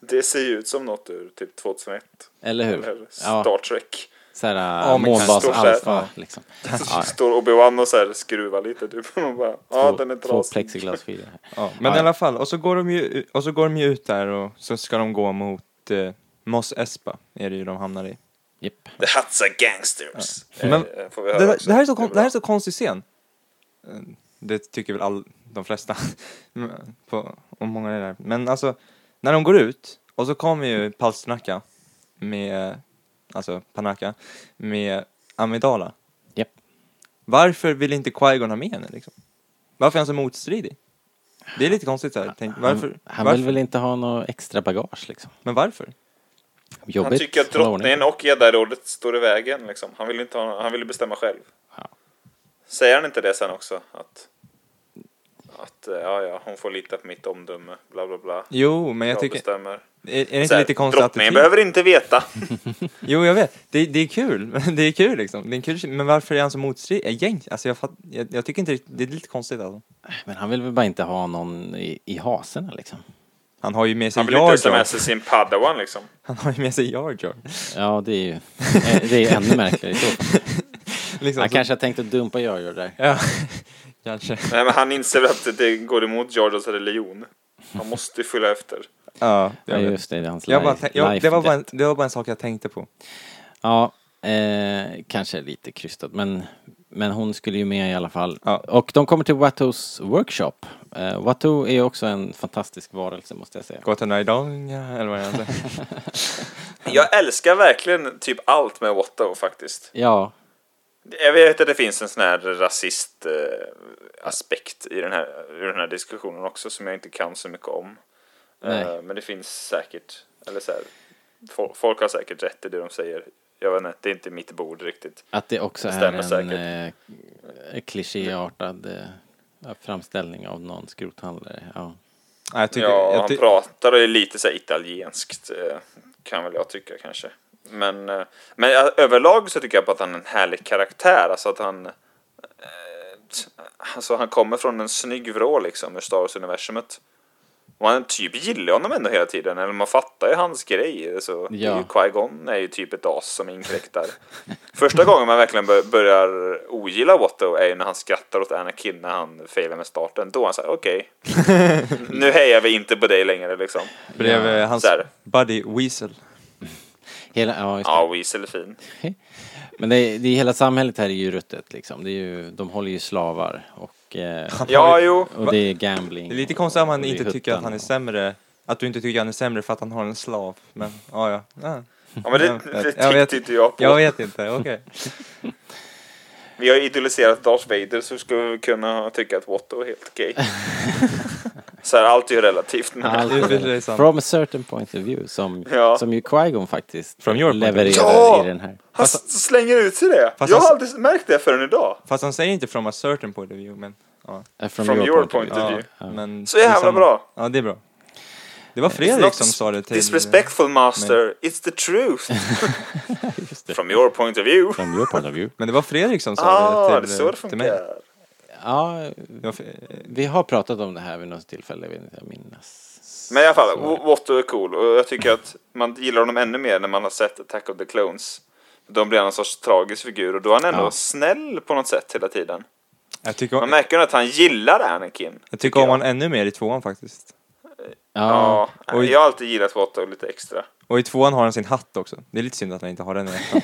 B: Det ser ju ut som något ur typ 2001.
C: Eller hur?
B: Eller
C: Ja,
B: Star Trek.
C: så här
A: Ja, men
C: äh,
A: kanske
C: månbas
B: står så här, [laughs]
C: alfa
B: ja.
C: liksom.
B: Så står Obi-Wan och så här skruvar lite typ. [laughs] Och man bara, ja den är
C: Två
B: trasig.
C: plexiglasfiler här.
A: Ja, men i alla fall, och så, går de ju, och så går de ju ut där och så ska de gå mot eh, Mos Espa, är det ju de hamnar i.
C: Japp.
B: The Huts are gangsters. Eh,
A: Men
B: eh, får vi
A: Det,
B: höra också.
A: det, här är så kon-
B: bra.
A: det här är så konstig scen. Eh, Det tycker väl all, de flesta [laughs] Men på, om många är där. Men alltså, när de går ut och så kommer ju Palsternacka med, alltså Panaka, med Amidala.
C: Japp.
A: Varför vill inte Qui-Gon ha med henne liksom? Varför är han så motstridig? Det är lite konstigt så här. Tänk, varför,
C: Han, han
A: varför?
C: vill väl inte ha något extra bagage liksom.
A: Men varför?
C: Jobbigt.
B: Han tycker att
C: hålla ordning.
B: drottningen och gäddarådet står i vägen. Liksom. Han vill ju inte ha, han vill ju bestämma själv.
C: Ja.
B: Säger han inte det sen också? Att, att eh, ja, ja, hon får lita på mitt omdöme, bla bla bla.
A: Jo, men jag
B: jag
A: tycker...
B: bestämmer.
A: Är, är det
B: Så
A: inte
B: här,
A: lite konstigt
B: drottningen
A: attityd?
B: behöver inte veta.
A: Jo, jag vet. Det, det är kul. [laughs] Det är kul liksom. Det är en kul, men varför är han så motstridig? Egentligen, alltså jag, fatt, jag, jag tycker inte riktigt- det är lite konstigt alltså.
C: Men han vill väl bara inte ha någon i, i haserna
A: [laughs]
C: liksom.
A: Han har ju med sig
B: Han vill inte
A: Jar
B: ens ha med
A: Jar.
B: sig sin padawan liksom.
A: Han har ju med sig Jar Jar. [laughs]
C: Ja, det är ju [laughs] eh, det är ju ännu märkligare i så fall.
A: Liksom,
C: Han
A: så-
C: kanske har tänkt att dumpa Jar Jar där.
A: Ja, kanske.
B: Nej, men han inser väl att det går emot Georgios religion. Han måste ju följa efter.
A: Ja,
C: Ja,
A: jag vet.
C: just det, det är hans
A: Jag bara,
C: life,
A: tän- jag, det, var bara
C: life
A: en, det var bara en sak jag tänkte på.
C: Ja, eh, kanske lite krystat, men, men hon skulle ju med i alla fall.
A: Ja.
C: Och de kommer till Wattos workshop. Eh, Watto är också en fantastisk varelse, måste jag säga.
A: Gotten Aidonga, eller vad det heter.
C: [laughs]
B: Jag älskar verkligen typ allt med Watto faktiskt.
C: Ja,
B: Jag vet att det finns en sån här rasist eh, aspekt i den här, i den här diskussionen också som jag inte kan så mycket om.
C: Nej.
B: Eh, men det finns säkert, eller så här, fol- folk har säkert rätt i det de säger. Jag vet inte, det är inte mitt bord riktigt.
C: att det också
B: Det
C: är
B: stämmer
C: en eh, klichéartad eh, ja, framställning av någon skrothandlare. Ja.
A: Ja, jag tycker,
B: ja,
A: jag
B: han
A: ty-
B: pratar och är lite så här italienskt, eh, kan väl jag tycka kanske. Men, eh, men eh, överlag så tycker jag bara att han är en härlig karaktär, alltså att han eh, t- Alltså han kommer från en snygg vrå liksom ur Star Wars-universumet. Och han typ gillar honom ändå hela tiden, eller man fattar ju hans grej. Så det är
C: Ja.
B: ju Qui-Gon är ju typ ett as som inkräktar. Första gången man verkligen bör- börjar ogilla Watto är ju när han skrattar åt Anakin när han failar med starten. Då är han såhär, okej, nu hejar vi inte på dig längre liksom.
A: bredvid hans
B: Så här.
A: buddy Weasel.
C: Hela, ja, just det.
B: Ja, Weasel är fin.
C: Men det är, det är hela samhället här är ju ruttet liksom. Det är ju, de håller ju slavar och, eh,
B: Ja, jo.
C: och det är gambling.
A: Det är lite konstigt om han
C: och det är
A: inte tycker att
C: huttan
A: han är
C: och-
A: sämre, att du inte tycker att han är sämre för att han har en slav. Men, ja, ja. ja.
B: Ja, men det,
A: Jag vet.
B: det
A: Jag vet.
B: tänkte inte jag på.
A: Jag vet inte, okej.
B: Vi har idoliserat Darth Vader så skulle vi kunna tycka att Watto är helt okej. så här, allt är ju relativt.
A: [laughs]
B: Men...
A: Det är i och för sig sant.
C: From a certain point of view som,
B: Ja.
C: som ju Qui-Gon faktiskt
A: From your point of view.
C: levererar
B: Ja!
C: i den här.
B: Han s- slänger ut sig det.
A: Fast
B: jag
A: han-
B: har aldrig märkt det förrän idag.
A: Fast han säger inte from a certain point of view, men... Ja.
C: Eh,
B: From your point of
A: Ja,
B: view.
A: Men
B: Så jävla
A: det är samma-
B: bra. Eh,
A: Ja, det är bra. Det var
B: It's
A: Fredrik
B: not
A: som
B: dis-
A: sa det till...
B: Disrespectful master, it's the truth.
A: [laughs]
B: From your point of view.
C: From your point of view.
A: Men det var Fredrik som sa
B: Ah,
A: det
B: det är
A: till, eh,
B: så det
A: till mig.
B: funkar.
C: Ja,
A: Det var eh, Fre-
C: vi har pratat om det här vid något tillfälle, jag vet inte, jag minns.
B: Men i alla fall, oh,
C: Så-
B: W- Watto är cool och jag tycker att man gillar honom ännu mer när man har sett Attack of the Clones. Då blir han en sorts tragisk figur och då är han ändå
C: Ja.
B: snäll på något sätt hela tiden.
A: Jag tycker,
B: Man
A: om,
B: märker ju att han gillar Anakin.
A: jag tycker om han ännu mer i tvåan faktiskt.
C: Ja,
B: Ja,
A: Oj.
B: jag har alltid gillat Watto lite extra.
A: Och i tvåan har han sin hatt också. Det är lite synd att han inte har den i [laughs] ettan.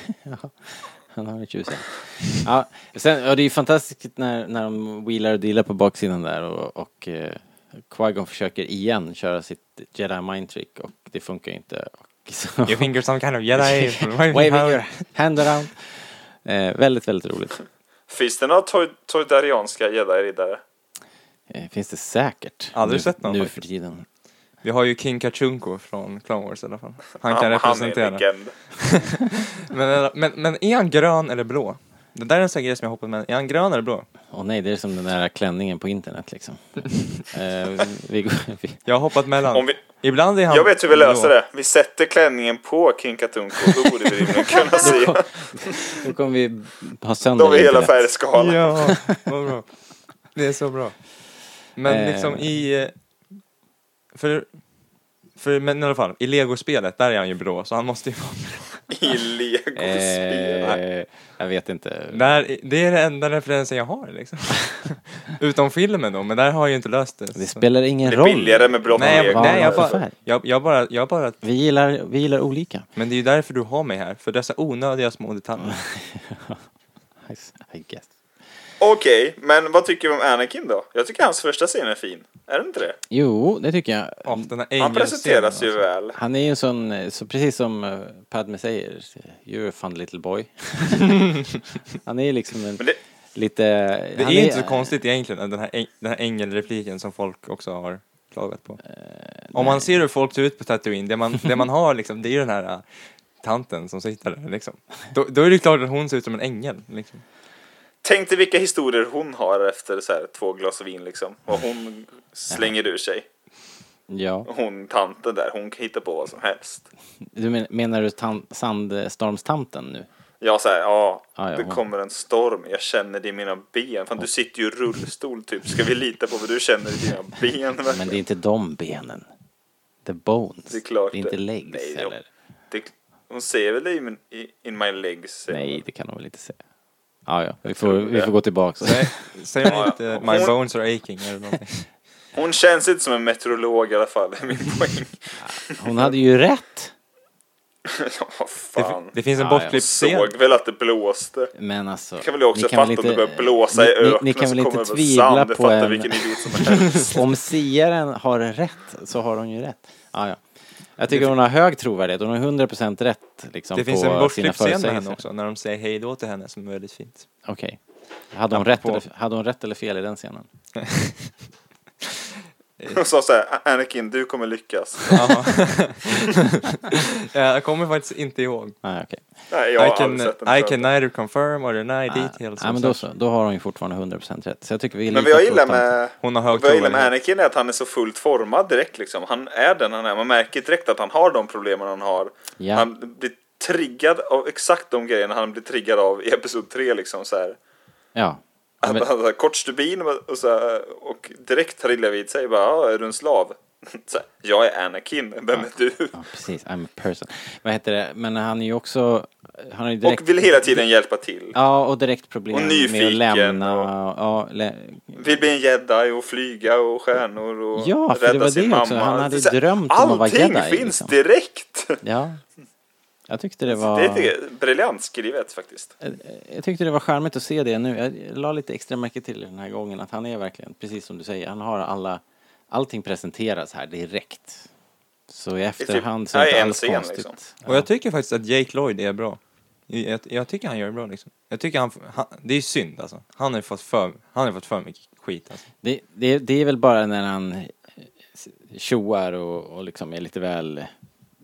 C: [laughs] han har en tjusig. Ja, sen, ja, det är ju fantastiskt när, när de wheelar och dealar på baksidan där och, och eh, Qui-Gon försöker igen köra sitt Jedi mind trick och det funkar ju inte. Och
A: [laughs]
C: så,
A: Your fingers some kind of jedi.
C: waving your hand around. Eh, väldigt, väldigt roligt.
B: Finns det några Toy- toydarianska jedi-riddare?
C: Eh, Finns det säkert.
A: Aldrig
C: nu,
A: sett någon
C: Nu
A: faktiskt.
C: för tiden.
A: Vi har ju King Kachunko från Clone Wars i alla fall. Han kan
B: Han- han är
A: representera.
B: legend.
A: men, men, men är han grön eller blå? Det där är en sån grej som jag hoppas med. Är han grön eller blå?
C: Åh nej, det är som den där klänningen på
A: [laughs]
C: internet liksom. eh, vi, går- [laughs] vi,
A: Jag har hoppat mellan.
B: Om vi-
A: Ibland är han
B: Jag vet hur vi
A: blå.
B: löser det. Vi sätter klänningen på King Katunko, då borde vi
A: [laughs]
B: rimligen kunna se.
C: nu kommer vi ha sönder
B: Då har vi hela
C: internet.
A: [laughs]
B: färgskalan.
A: Ja, vad bra. Det är så bra. Men
C: Eh.
A: liksom i... eh, För, för, men i alla fall, i legospelet, där är han ju blå, så han måste ju vara
B: [laughs] I legospel.
C: Eh, jag vet inte.
A: där, Det är den enda referensen jag har liksom. [laughs] Utom filmen då, men där har jag ju inte löst det.
C: Det
A: så-
C: spelar ingen
B: Det är
C: roll.
B: billigare med blått
A: Nej,
B: lego.
A: jag, nej jag, bara,
C: Varför?
A: jag, jag, bara, jag bara...
C: Vi gillar, vi gillar olika.
A: Men det är ju därför du har mig här, för dessa onödiga små
C: Mm.
A: detaljer.
C: I s- I guess.
B: Okej, men vad tycker vi om Anakin då? Jag tycker hans första scen är fin. Är den inte det?
C: Jo, det tycker jag.
A: Åh, den här
B: Han
A: ängelscenen,
B: presenteras
A: alltså.
B: ju väl.
C: Han är ju en sån, eh, så precis som eh, Padme säger, you're a fun
B: [laughs]
C: little boy. han är ju liksom en
B: Men det,
C: lite...
A: Det
C: han
A: är inte så konstigt egentligen, den här, äng- den här ängelrepliken som folk också har klagat på.
C: Eh,
A: Om man ser hur folk ser ut på Tatooine, det
C: [laughs]
A: man, det man har liksom, det är ju den här äh, tanten som sitter där liksom. Då, då är det klart att hon ser ut som en ängel. Liksom.
B: tänk dig vilka historier hon har efter så här, två glas vin liksom. Vad hon slänger ur sig.
C: Ja,
B: Hon tanten där, hon kan hitta på vad som helst.
C: du men, menar du tan, sandstormstanten nu?
B: Jag säger, ja,
C: Ah, ja,
B: det
C: hon-
B: kommer en storm. Jag känner det i mina ben. Fan, du sitter ju i rullstol typ. Ska vi lita på vad du känner i
C: [laughs]
B: dina ben?
C: Men
B: verkligen?
C: det är inte de benen. The bones.
B: Det är klart
C: inte
B: det.
C: legs
B: Nej, de-
C: eller?
B: Det- Hon säger väl det i min, i, in my legs?
C: Nej, det kan de väl inte säga. Ah, ja, vi får, vi får gå tillbaka.
A: Säger
B: Ja,
A: hon
B: ja.
A: inte “My
B: Hon-
A: bones are aching” eller någonting?
B: Hon känns inte som en meteorolog i alla fall, är min
C: [laughs]
B: poäng.
C: Hon hade ju rätt.
B: ja, vad
A: Det,
B: fan.
A: det finns en
C: Ja, ja.
A: bortklippt scen.
B: Såg väl att det blåste.
C: Men alltså.
B: Det kan väl jag också
C: ni
B: fatta
C: väl
B: om det börjar blåsa i
C: ni- ni-
B: öknen
C: Ni kan
B: så
C: väl inte
B: kommer det
C: tvivla
B: sand. Det
C: på
B: fattar
C: en...
B: vilken idiot som helst.
C: [laughs] Om siaren har rätt så har hon ju rätt. Ah, ja. Jag tycker hon har hög trovärdighet. Hon har 100% rätt liksom,
A: Det finns
C: på
A: en
C: sina
A: bortklippt scen med henne
C: förutsägelser.
A: också, när de säger hej då till henne som är väldigt
B: [laughs]
A: fint.
C: Okej. Hade, hon rätt
A: på-
C: eller- hade hon rätt eller fel i den scenen?
B: Hon sa så här, Anakin, du kommer lyckas.
A: [laughs] Jaha. jag kommer faktiskt inte ihåg.
C: Ah, okej.
B: Nej, jag
A: I
B: har
A: can,
B: aldrig sett den
A: I
B: förut.
A: can neither confirm or deny details.
C: Ah, ja, men då, så, då har hon ju fortfarande 100% rätt. Så jag tycker vi är
B: Men vad
C: lika
B: jag gillar
C: tvåsamma.
B: med,
A: Hon har hög
B: vad jag gillar med
A: trovärdighet.
B: Anakin är att han är så fullt formad direkt liksom. Han är den han är. Man märker direkt att han har de problemen han har.
C: Ja.
B: Han blir triggad av exakt de grejerna han blir triggad av i episod 3 liksom så här.
C: Ja.
B: Han [laughs]
C: Men-
B: hade kort stubin och, och, så här, och direkt trillade vid sig bara, "Ja, är du en slav? [laughs] Så här, jag är Anakin, vem är du?
C: Ja, precis. I'm a person. Vad heter det? Men han är ju också... Han har ju direkt...
B: Och vill hela tiden hjälpa till.
C: Ja, och direkt problem
B: Och
C: med att
B: nyfiken
C: lämna...
B: och-
C: Ja, lä...
B: Vill bli en jedi och flyga och stjärnor och
C: Ja, för det
B: rädda
C: var
B: sin
C: det
B: mamma.
C: också. Han hade ju
B: Så här,
C: drömt om att vara
B: Allting
C: jedi,
B: finns
C: liksom.
B: direkt!
C: ja. Jag tyckte det var...
B: Alltså, Det är briljant skrivet faktiskt.
C: Jag tyckte det var charmigt att se det nu. Jag la lite extra märke till den här gången att han är verkligen, precis som du säger, han har alla... Allting presenteras här direkt. Så i
B: typ
C: efterhand så är
B: ja,
C: det inte
B: i en
C: alls
B: scen,
C: konstigt.
B: liksom.
A: Och jag tycker faktiskt att Jake Lloyd är bra. Jag, jag tycker han gör det bra liksom. Jag tycker han, han det är ju synd alltså. Han har ju fått för, han har ju fått för mycket skit alltså.
C: Det, det, det är väl bara när han eh, tjoar och, och liksom är lite väl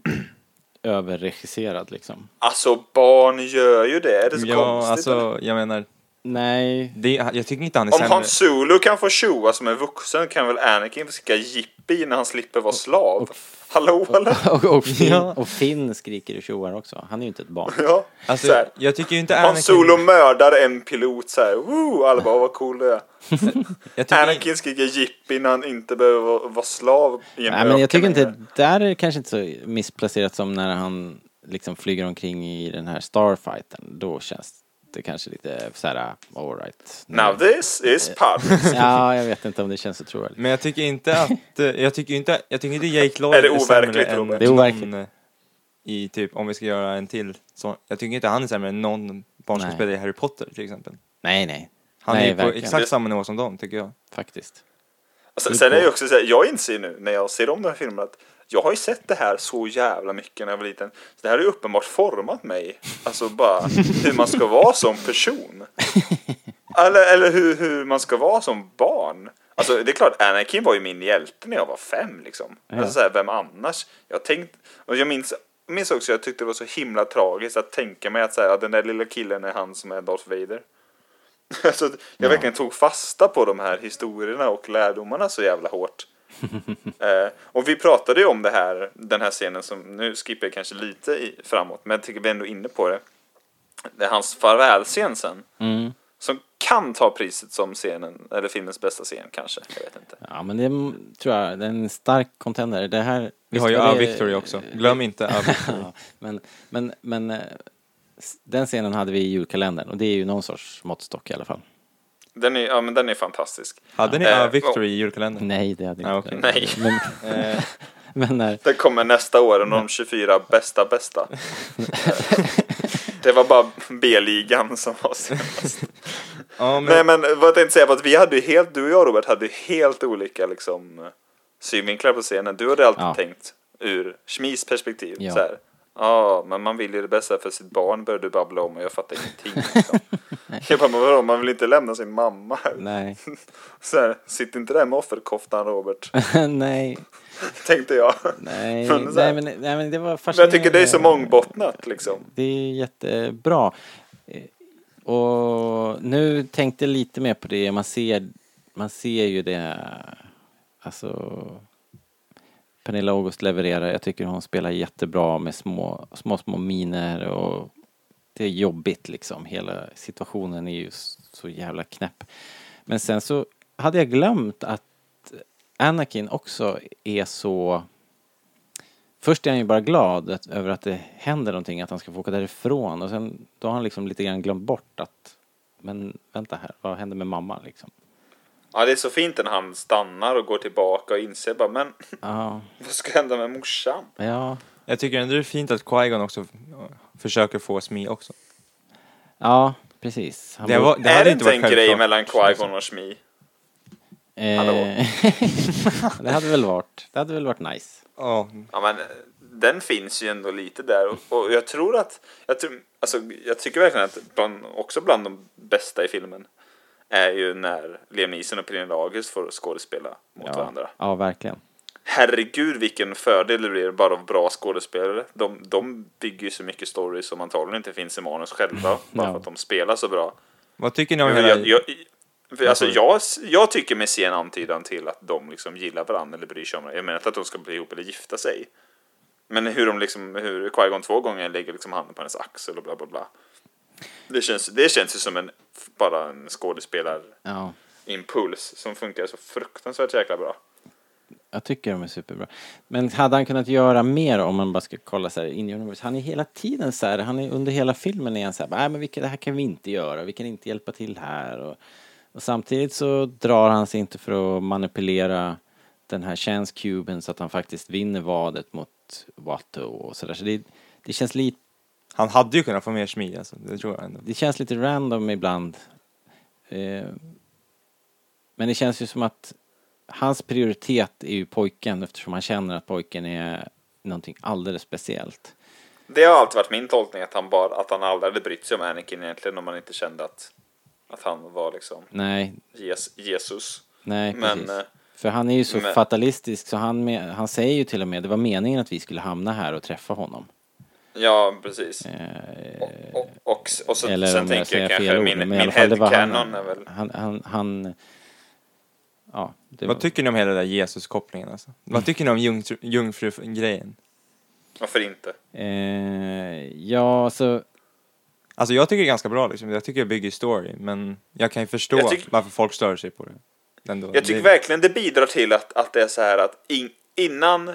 C: [clears throat] överregisserad liksom.
B: Alltså barn gör ju det, är det så
A: Ja,
B: konstigt? eller?
A: alltså jag menar,
C: Nej,
A: det, är- jag tycker inte han är
B: Om
A: sämre.
B: Han Solo kan få tjoa som en vuxen kan väl Anakin få skicka jippi när han slipper vara slav? Hallå eller?
C: [laughs] och, och, Finn,
A: Ja.
C: och Finn skriker och tjoar också. Han är ju inte ett [laughs] barn.
B: Ja,
A: Alltså,
B: så här.
A: jag tycker ju inte
B: Han
A: Anakin...
B: Solo mördar en pilot så här. Woo, alla bara vad cool det är.
A: jag tycker,
B: Anakin skriker jippi när han inte behöver vara- vara slav i en
C: Nej, men
B: öken
C: jag tycker inte,
B: längre.
C: där är det kanske inte så missplacerat som när han liksom flyger omkring i den här starfighten. Då känns det kanske lite såhär, alright.
B: Now this is
C: Eh,
B: pirates.
C: Ja, jag vet inte om det känns så trovärdigt.
A: Men jag tycker inte att, eh, jag tycker inte, jag tycker inte Jake Lloyd
B: Är det
A: sämre
B: overkligt,
A: än
B: Robert?
C: Det är overkligt.
A: någon eh, i typ, om vi ska göra en till så, Jag tycker inte han är sämre än någon barn som
C: Nej.
A: spelar i Harry Potter till exempel.
C: Nej, nej.
A: Han
C: nej,
A: är ju på
C: verkligen.
A: exakt samma nivå som dem tycker jag.
C: Faktiskt.
B: Sen, Alltså, sen är det ju också så här, jag inser nu när jag ser om den här filmen att jag har ju sett det här så jävla mycket när jag var liten. Så det här har [laughs] ju uppenbart format mig. Alltså bara hur man ska vara som person. Eller, eller hur, hur man ska vara som barn. Alltså det är klart, Anakin var ju min hjälte när jag var fem liksom.
C: Ja.
B: Alltså så här, vem annars? Jag tänkt, och jag minns, minns också, jag tyckte det var så himla tragiskt att tänka mig att så här, att den där lilla killen är han som är Darth Vader. [laughs] alltså, jag verkligen tog fasta på de här historierna och lärdomarna så jävla hårt. Eh, och vi pratade ju om det här, den här scenen som, nu skippar jag kanske lite i, framåt, men jag tycker vi är ändå inne på det. Det är hans farvälscen sen.
C: Mm.
B: Som kan ta priset som scenen, eller filmens bästa scen kanske. Jag vet inte.
C: Ja, men det är- mm, tror jag, det är en stark contender. Det här...
A: Vi har ju
C: visst var
A: A
C: det-
A: Victory också. Glöm inte A Victory.
C: Ja, men, men, men eh, s- den scenen hade vi i julkalendern och det är ju någon sorts måttstock i alla fall.
B: Den är, ja, men den är fantastisk.
A: Hade ni
B: Eh,
A: A Victory i julkalendern?
C: Nej, det hade
A: Ja,
C: jag inte.
A: okej.
B: Nej.
C: Men, men eh, när,
B: Den kommer nästa år, en av
C: Mm.
B: de 24 bästa bästa. det var bara B-ligan som var senast.
A: Ja, men,
B: Nej men vad jag tänkte säga var att vi hade ju helt, du och jag Robert hade ju helt olika liksom synvinklar på scenen. Du hade alltid
C: Ja.
B: tänkt ur Schmis perspektiv.
C: Ja.
B: Ja. Så här. Ja, men man vill ju det bästa för sitt barn började du babbla om och jag fattar ingenting.
C: [laughs]
B: Liksom. jag bara, men vadå, man vill inte lämna sin mamma.
C: nej, [laughs]
B: Så här, sitt inte där med offerkoftan Robert,
C: nej,
B: tänkte jag.
C: nej,
B: Men så här-
C: nej, men, nej, men det var
B: Men jag
C: fascinerande.
B: tycker det är så mångbottnat liksom.
C: Det är jättebra. Eh, Och nu tänkte jag lite mer på det, man ser, man ser ju det, alltså Pernilla August levererar, jag tycker hon spelar jättebra med små, små, små miner och det är jobbigt liksom, hela situationen är ju s- så jävla knäpp. Men sen så hade jag glömt att Anakin också är så Först är han ju bara glad att, över att det händer någonting, att han ska få åka därifrån och sen då har han liksom lite grann glömt bort att men vänta här, vad hände med mamma liksom?
B: Ja, det är så fint när han stannar och går tillbaka och inser bara, men [laughs]
C: Ja,
B: vad ska hända med morsan?
C: ja,
A: jag tycker ändå det är fint att Qui-Gon också f- försöker få Smi också.
C: ja, precis. Han
A: Det,
C: bor-
A: var, det
B: är
A: hade
B: det
A: inte
B: inte
A: varit
B: en grej
A: självklart. liksom.
B: mellan Qui-Gon och Shmi? Hallå?
C: Eh, [laughs] det hade väl varit, det hade väl varit nice.
A: Ja,
B: Ja, men eh, den finns ju ändå lite där och, och jag tror att, jag, tror, alltså, jag tycker verkligen att bland, också bland de bästa i filmen är ju när Liam Neeson och Pernilla August får skådespela mot varandra.
C: ja, verkligen.
B: Herregud vilken fördel det blir bara av bra skådespelare. De, de bygger ju så mycket stories som antagligen inte finns i manus själva, bara
C: Ja.
B: för att de spelar så bra.
A: vad tycker ni om
B: Jag,
A: hela...
B: jag, jag, för alltså, jag, jag tycker mig se en antydan till att de liksom gillar varandra eller bryr sig om varandra. Jag menar inte att de ska bli ihop eller gifta sig. Men hur de liksom, hur Qui-Gon två gånger lägger liksom handen på hennes axel och bla bla bla. Det känns, det känns ju som en, bara en skådespelarimpuls
C: Ja,
B: som funkar så fruktansvärt jäkla bra.
C: jag tycker de är superbra. Men hade han kunnat göra mer om man bara ska kolla så här in universe? Han är hela tiden så här, han är under hela filmen är han så här, nej men vilka, det här kan vi inte göra, vi kan inte hjälpa till här och, och samtidigt så drar han sig inte för att manipulera den här chance-cuben så att han faktiskt vinner vadet mot Watto och sådär. Så det, det känns lite
A: Han hade ju kunnat få mer Smi, alltså. Det tror jag ändå.
C: det känns lite random ibland. Eh, Men det känns ju som att hans prioritet är ju pojken eftersom han känner att pojken är någonting alldeles speciellt.
B: Det har alltid varit min tolkning att han bara, att han aldrig hade brytt sig om Anakin egentligen om man inte kände att, att han var liksom
C: Nej,
B: Jes- Jesus.
C: nej
B: Men,
C: precis.
B: eh,
C: För han är ju så
B: men-
C: fatalistisk så han, me- han säger ju till och med det var meningen att vi skulle hamna här och träffa honom.
B: Ja, precis.
C: Eh,
B: Och, och, och, och så,
C: Eller
B: sen
C: om jag
B: tänker
C: säger
B: jag
C: fel
B: kanske
C: ord,
B: min,
C: men i
B: min
C: alla fall det var han-
B: headcanon är väl...
C: Han, han, han... Ja, det var,
A: Vad tycker ni om hela den där Jesus-kopplingen alltså? Vad tycker ni om jungfru- jungfrugrejen?
B: Varför inte?
C: eh, ja, så...
A: Alltså jag tycker det är ganska bra liksom. Jag tycker det bygger story, men jag kan ju förstå
B: Jag tycker-
A: varför folk stör sig på det. Ändå.
B: Jag tycker
A: det...
B: verkligen det bidrar till att, att det är så här att in, innan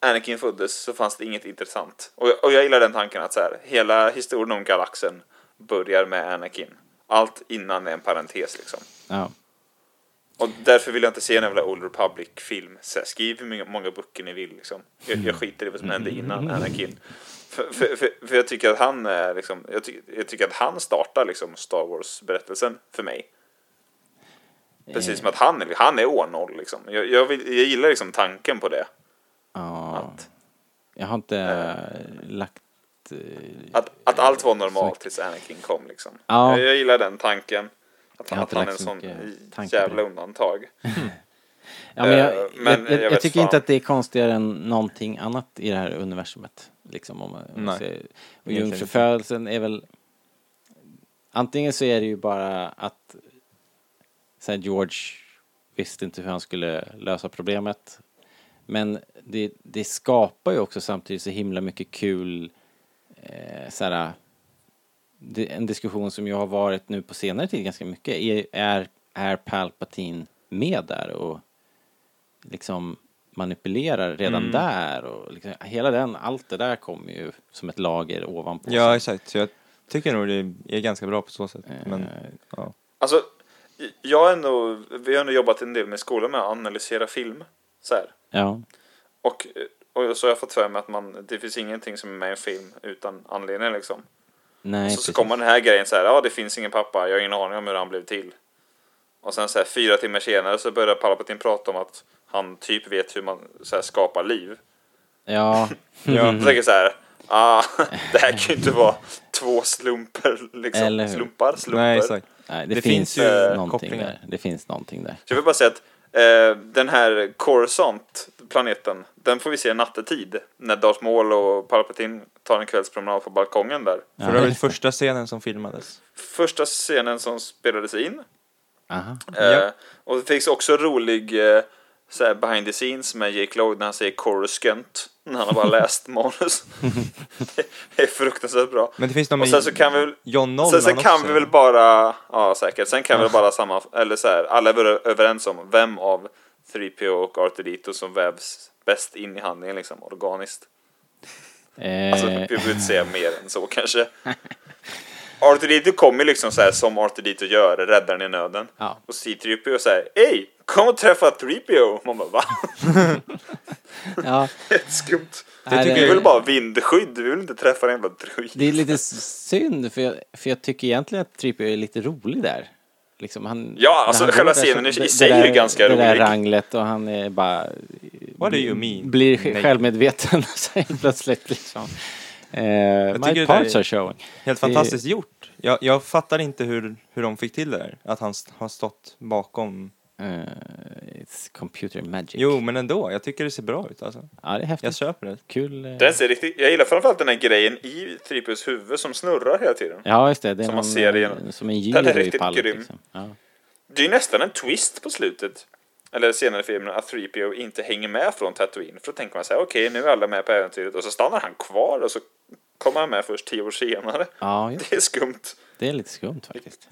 B: Anakin föddes så fanns det inget intressant. Och, jag- och jag gillar den tanken att så här, hela historien om galaxen börjar med Anakin. Allt innan är en parentes liksom.
C: Ja.
B: Och därför vill jag inte se en jävla Old Republic-film. Så här, Skriv hur många- många böcker ni vill. Liksom. Jag,
C: Mm.
B: jag skiter i vad som hände innan Anakin. För, för, för, för jag tycker att han är, liksom, jag, ty, jag tycker att han startar liksom, Star Wars-berättelsen för mig. Precis som att han, är- han är år noll. Liksom. Jag, jag, vill, jag gillar liksom tanken på det.
C: ja.
B: Att,
C: Jag har inte eh, lagt... eh,
B: att, att allt var normalt tills Anakin kom. Liksom.
C: Ja.
B: Jag, jag gillar den tanken. Att
C: Jag
B: han,
C: har
B: att
C: inte
B: han är en
C: lagt så
B: sån
C: mycket tanke på
B: jävla
C: det.
B: undantag.
C: Ja, men jag,
B: Eh, men
C: jag, jag,
B: jag
C: jag,
B: vet
C: tycker
B: fan.
C: inte att det är konstigare än någonting annat i det här universumet. Liksom, om man, om man
A: Nej.
C: ser, och
A: Egentligen
C: jungfrufödelsen är väl... Antingen så är det ju bara att så här, George visste inte hur han skulle lösa problemet. Men det, det skapar ju också samtidigt så himla mycket kul eh, så här, det, en diskussion som ju har varit nu på senare tid ganska mycket. Är, är, är Palpatine med där och liksom manipulerar redan där? Och liksom, hela den, allt det där kommer ju som ett lager ovanpå.
A: Ja,
C: sig.
A: exakt. Så jag tycker nog det är ganska bra på så sätt. Men,
C: Eh,
A: ja.
B: Alltså, jag har ändå, vi har ändå jobbat en del med skolan med att analysera film. Så här.
C: ja.
B: Och, och så har jag fått för mig att man, det finns ingenting som är med i en film utan anledning liksom.
C: Nej,
B: så, så
C: precis.
B: kommer den här grejen så här, ja det finns ingen pappa, jag har ingen aning om hur han blev till. Och sen så här fyra timmar senare så börjar Palpatine prata om att han typ vet hur man så här, skapar liv.
C: Ja,
B: Jag tänker så här, ah, [laughs] det här kan ju inte
C: [laughs]
B: vara två slumper liksom.
C: Eller hur?
B: Slumpar, slumper.
A: Nej, exakt.
C: nej, det,
A: Det
C: finns,
A: finns ju
C: någonting
A: kopplingar.
C: där. Det finns någonting där.
B: Så jag vill bara säga att eh, den här Coruscant, planeten, den får vi se nattetid. När Darth Maul och Palpatine tar en kvällspromenad på balkongen där.
A: För
C: [laughs]
A: övrigt första scenen som filmades.
B: Första scenen som spelades in.
C: Aha.
B: Eh,
A: Ja.
B: Och det finns också rolig eh, så här behind the scenes med Jake Lloyd när han säger Coruscant. När han
A: [laughs]
B: har bara läst manus. det är fruktansvärt bra.
A: Men det finns någon
B: Och
A: med
B: sen så kan vi väl-
A: John Nolan
B: Sen, sen kan
A: också.
B: vi väl bara, ja säkert, sen kan vi väl bara samma, eller så här, alla är väl överens om vem av 3PO och R2D2 som vävs bäst in i handlingen liksom, organiskt.
C: Eh,
B: Alltså, vi behöver inte säga mer än så kanske. R2D2 kommer liksom så här som R2D2 gör, räddar den i nöden.
C: Ja.
B: Och C3PO säger, hej, kom och träffa 3PO! Man bara, va? [laughs]
C: ja,
B: Skumt.
C: Nej,
B: Det
C: det-
B: tycker vi vill bara ha vindskydd, vi vill inte träffa en jävla druid.
C: det är lite synd, för jag, för jag tycker egentligen att Trippier är lite rolig där. Liksom han,
B: Ja, alltså,
C: när han
B: själva
C: går där
B: scenen
C: så-
B: i- i
C: det- det
B: sig är ju ganska
C: Det där
B: rolig.
C: ranglet och han är bara...
A: What do you mean?
C: Blir sj-
A: Nej.
C: självmedveten så helt plötsligt liksom. Eh,
A: tycker
C: my
A: det
C: parts
A: är
C: are showing.
A: Helt
C: Det är-
A: fantastiskt gjort. Jag, jag fattar inte hur, hur de fick till det där. Att han st- har stått bakom.
C: Eh, it's computer magic.
A: Jo, men ändå. Jag tycker det ser bra ut alltså.
C: Ja, det är
A: Jag
C: häftigt.
A: köper
C: [laughs]
A: det.
C: Kul. eh,
B: Den ser riktigt, jag gillar framförallt den här grejen i 3POs huvud som snurrar hela tiden.
C: Ja, just det. det är
B: som
C: någon,
B: man ser igenom.
C: eh, Som en
B: Den är
C: gyro i
B: riktigt
C: pallet
B: grym.
C: liksom. Ja.
B: Det är nästan en twist på slutet. Eller senare i filmen att 3PO inte hänger med från Tatooine. För då tänker man så här, okej nu är alla med på äventyret. Och så stannar han kvar och så kommer han med först tio år senare.
C: ja, just-
B: Det är skumt.
C: det är lite skumt faktiskt.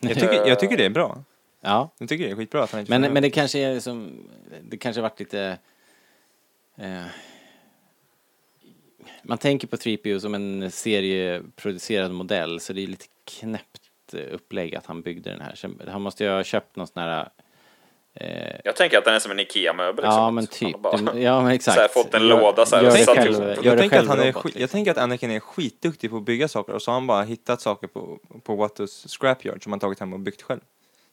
A: Jag tycker, jag tycker det är bra.
C: [laughs] Ja.
A: Jag tycker det är skitbra att han inte
C: Men,
A: får med.
C: men det kanske är som, det kanske har varit lite... Eh, man tänker på 3PO som en serieproducerad modell så det är lite knäppt eh, upplägg att han byggde den här. Sen, han måste ju ha köpt någon sån här... Eh,
B: Jag tänker att den är som en IKEA-möbel.
C: ja,
B: liksom.
C: men
B: Att han
C: typ.
B: Bara, [laughs]
C: Det- Ja, men exakt.
B: Så här, fått en låda så här
C: Gör
B: och
C: det
B: satt
C: själv,
B: ihop
C: gör
A: jag,
C: det
A: tänker att
C: själv
A: han är,
C: robot,
A: skit- jag
C: liksom.
A: tänker att Anakin är skitduktig på att bygga saker och så har han bara hittat saker på, på Wattus scrapyard som han tagit hem och byggt själv.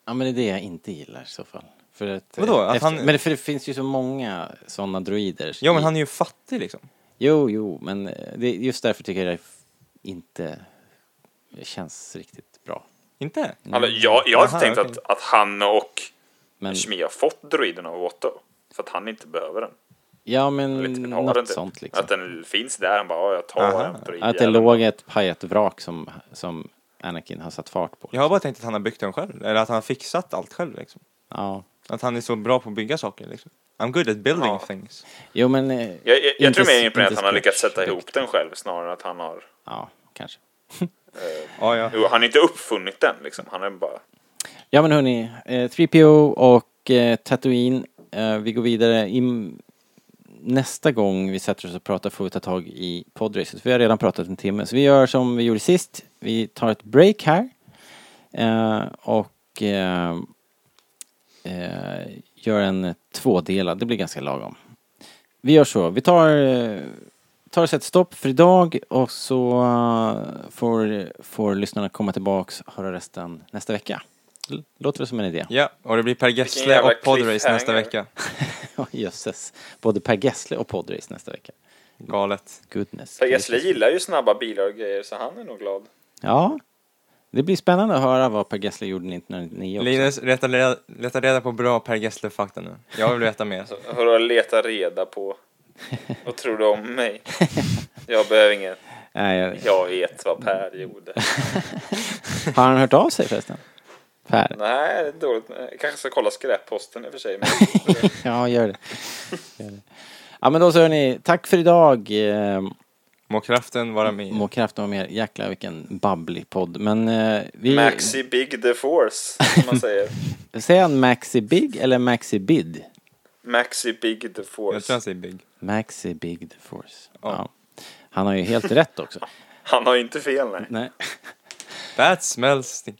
C: Ja, men det är det jag inte gillar i så fall. För att, eh,
A: Vadå? Att
C: efter,
A: han-
C: Men för det finns ju så många sådana droider.
A: Ja, men
C: i-
A: han är ju fattig liksom.
C: Jo, jo, men eh, det, just därför tycker jag det f- inte känns riktigt bra.
A: Inte?
B: alltså, jag jag hade
A: Aha,
B: tänkt
A: okej.
B: att, att han och
C: Men,
B: Shmi har fått droiden av Otto. För att han inte behöver den.
C: ja,
B: Eller
C: men
B: typ har den
C: något
B: typ.
C: sånt liksom.
B: Att den finns där, han bara, "Ja, jag tar
A: Aha.
B: den. droidjäveln."
C: Att det låg ett pajat vrak som, som Anakin har satt fart på.
A: Jag har bara tänkt att han har byggt den själv, eller att han har fixat allt själv liksom.
C: Ja.
A: Att han är så bra på att bygga saker liksom. I'm good at building
B: Ja.
A: things.
C: Jo, men... eh,
B: Jag, jag, jag tror
C: inte-
B: mer imponerad att
C: inte
B: han har lyckats sätta
C: skräckprodukt.
B: ihop den själv snarare än att han har...
C: Ja, kanske.
A: Ja, ja.
B: Jo, Han har inte uppfunnit den liksom. Han är bara...
C: Ja, men hörni. Eh, 3PO och eh, Tatooine. Eh, vi går vidare. Im- nästa gång vi sätter oss och pratar får vi ta tag i podracet. Vi har redan pratat en timme, så vi gör som vi gjorde sist. Vi tar ett break här. Eh, och eh, eh, gör en tvådelad. Det blir ganska lagom. Vi gör så. Vi tar, eh, tar och sätter stopp för idag och så eh, får, får lyssnarna komma tillbaks och höra resten nästa vecka. L- Låter det som en idé?
A: Ja, och det blir Per Gessle
B: jävla
A: och Podrace nästa
B: cliffhanger.
A: vecka.
C: [laughs] Ja, jösses. Både Per Gessle och Podrace nästa vecka.
A: Galet.
C: Goodness.
B: Per Gessle gillar ju snabba bilar och grejer så han är nog glad.
C: Ja. Det blir spännande att höra vad Per Gessle gjorde 1999 också.
A: Linus, leta reda, leta reda på bra Per Gessle-fakta nu. Jag vill veta mer.
B: Hörru, leta reda
C: [laughs]
B: på. Vad tror du om mig? Jag behöver inget.
C: Nej, jag...
B: Jag vet vad Per gjorde.
C: Har han hört av sig förresten? Per? [laughs]
B: Nej, det är dåligt. Jag kanske ska kolla skräpposten i och för sig.
A: [laughs]
B: Men
C: Ja, gör det. Gör det. Ja, men då så hörni, tack för idag. Eh,
A: Må kraften vara med.
C: Må kraften vara med er. Jäklar vilken babblig podd. Men eh, vi...
A: Mm.
B: Maxi Big The Force, som
A: [laughs]
B: man säger.
C: Säger han Maxi Big eller Maxi Bid?
B: Maxi Big The
A: Jag tror
B: Force.
A: han säger big.
C: Maxi Big the Force. Ja. Han har ju helt rätt också.
B: Han har ju inte fel, nej.
C: [laughs] Nej.
A: That smells stink.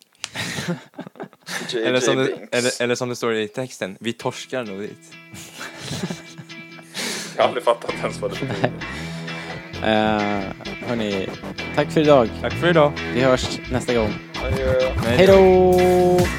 A: Eller
B: JJ
A: som, det,
B: Binks.
A: eller, eller som det står i texten, vi torskar nog dit.
B: Jag har aldrig fattat ens vad det betyder.
C: Eh, hörni, tack för idag.
A: Tack för idag.
C: Vi hörs nästa gång.
B: Adjö.
C: Hej då!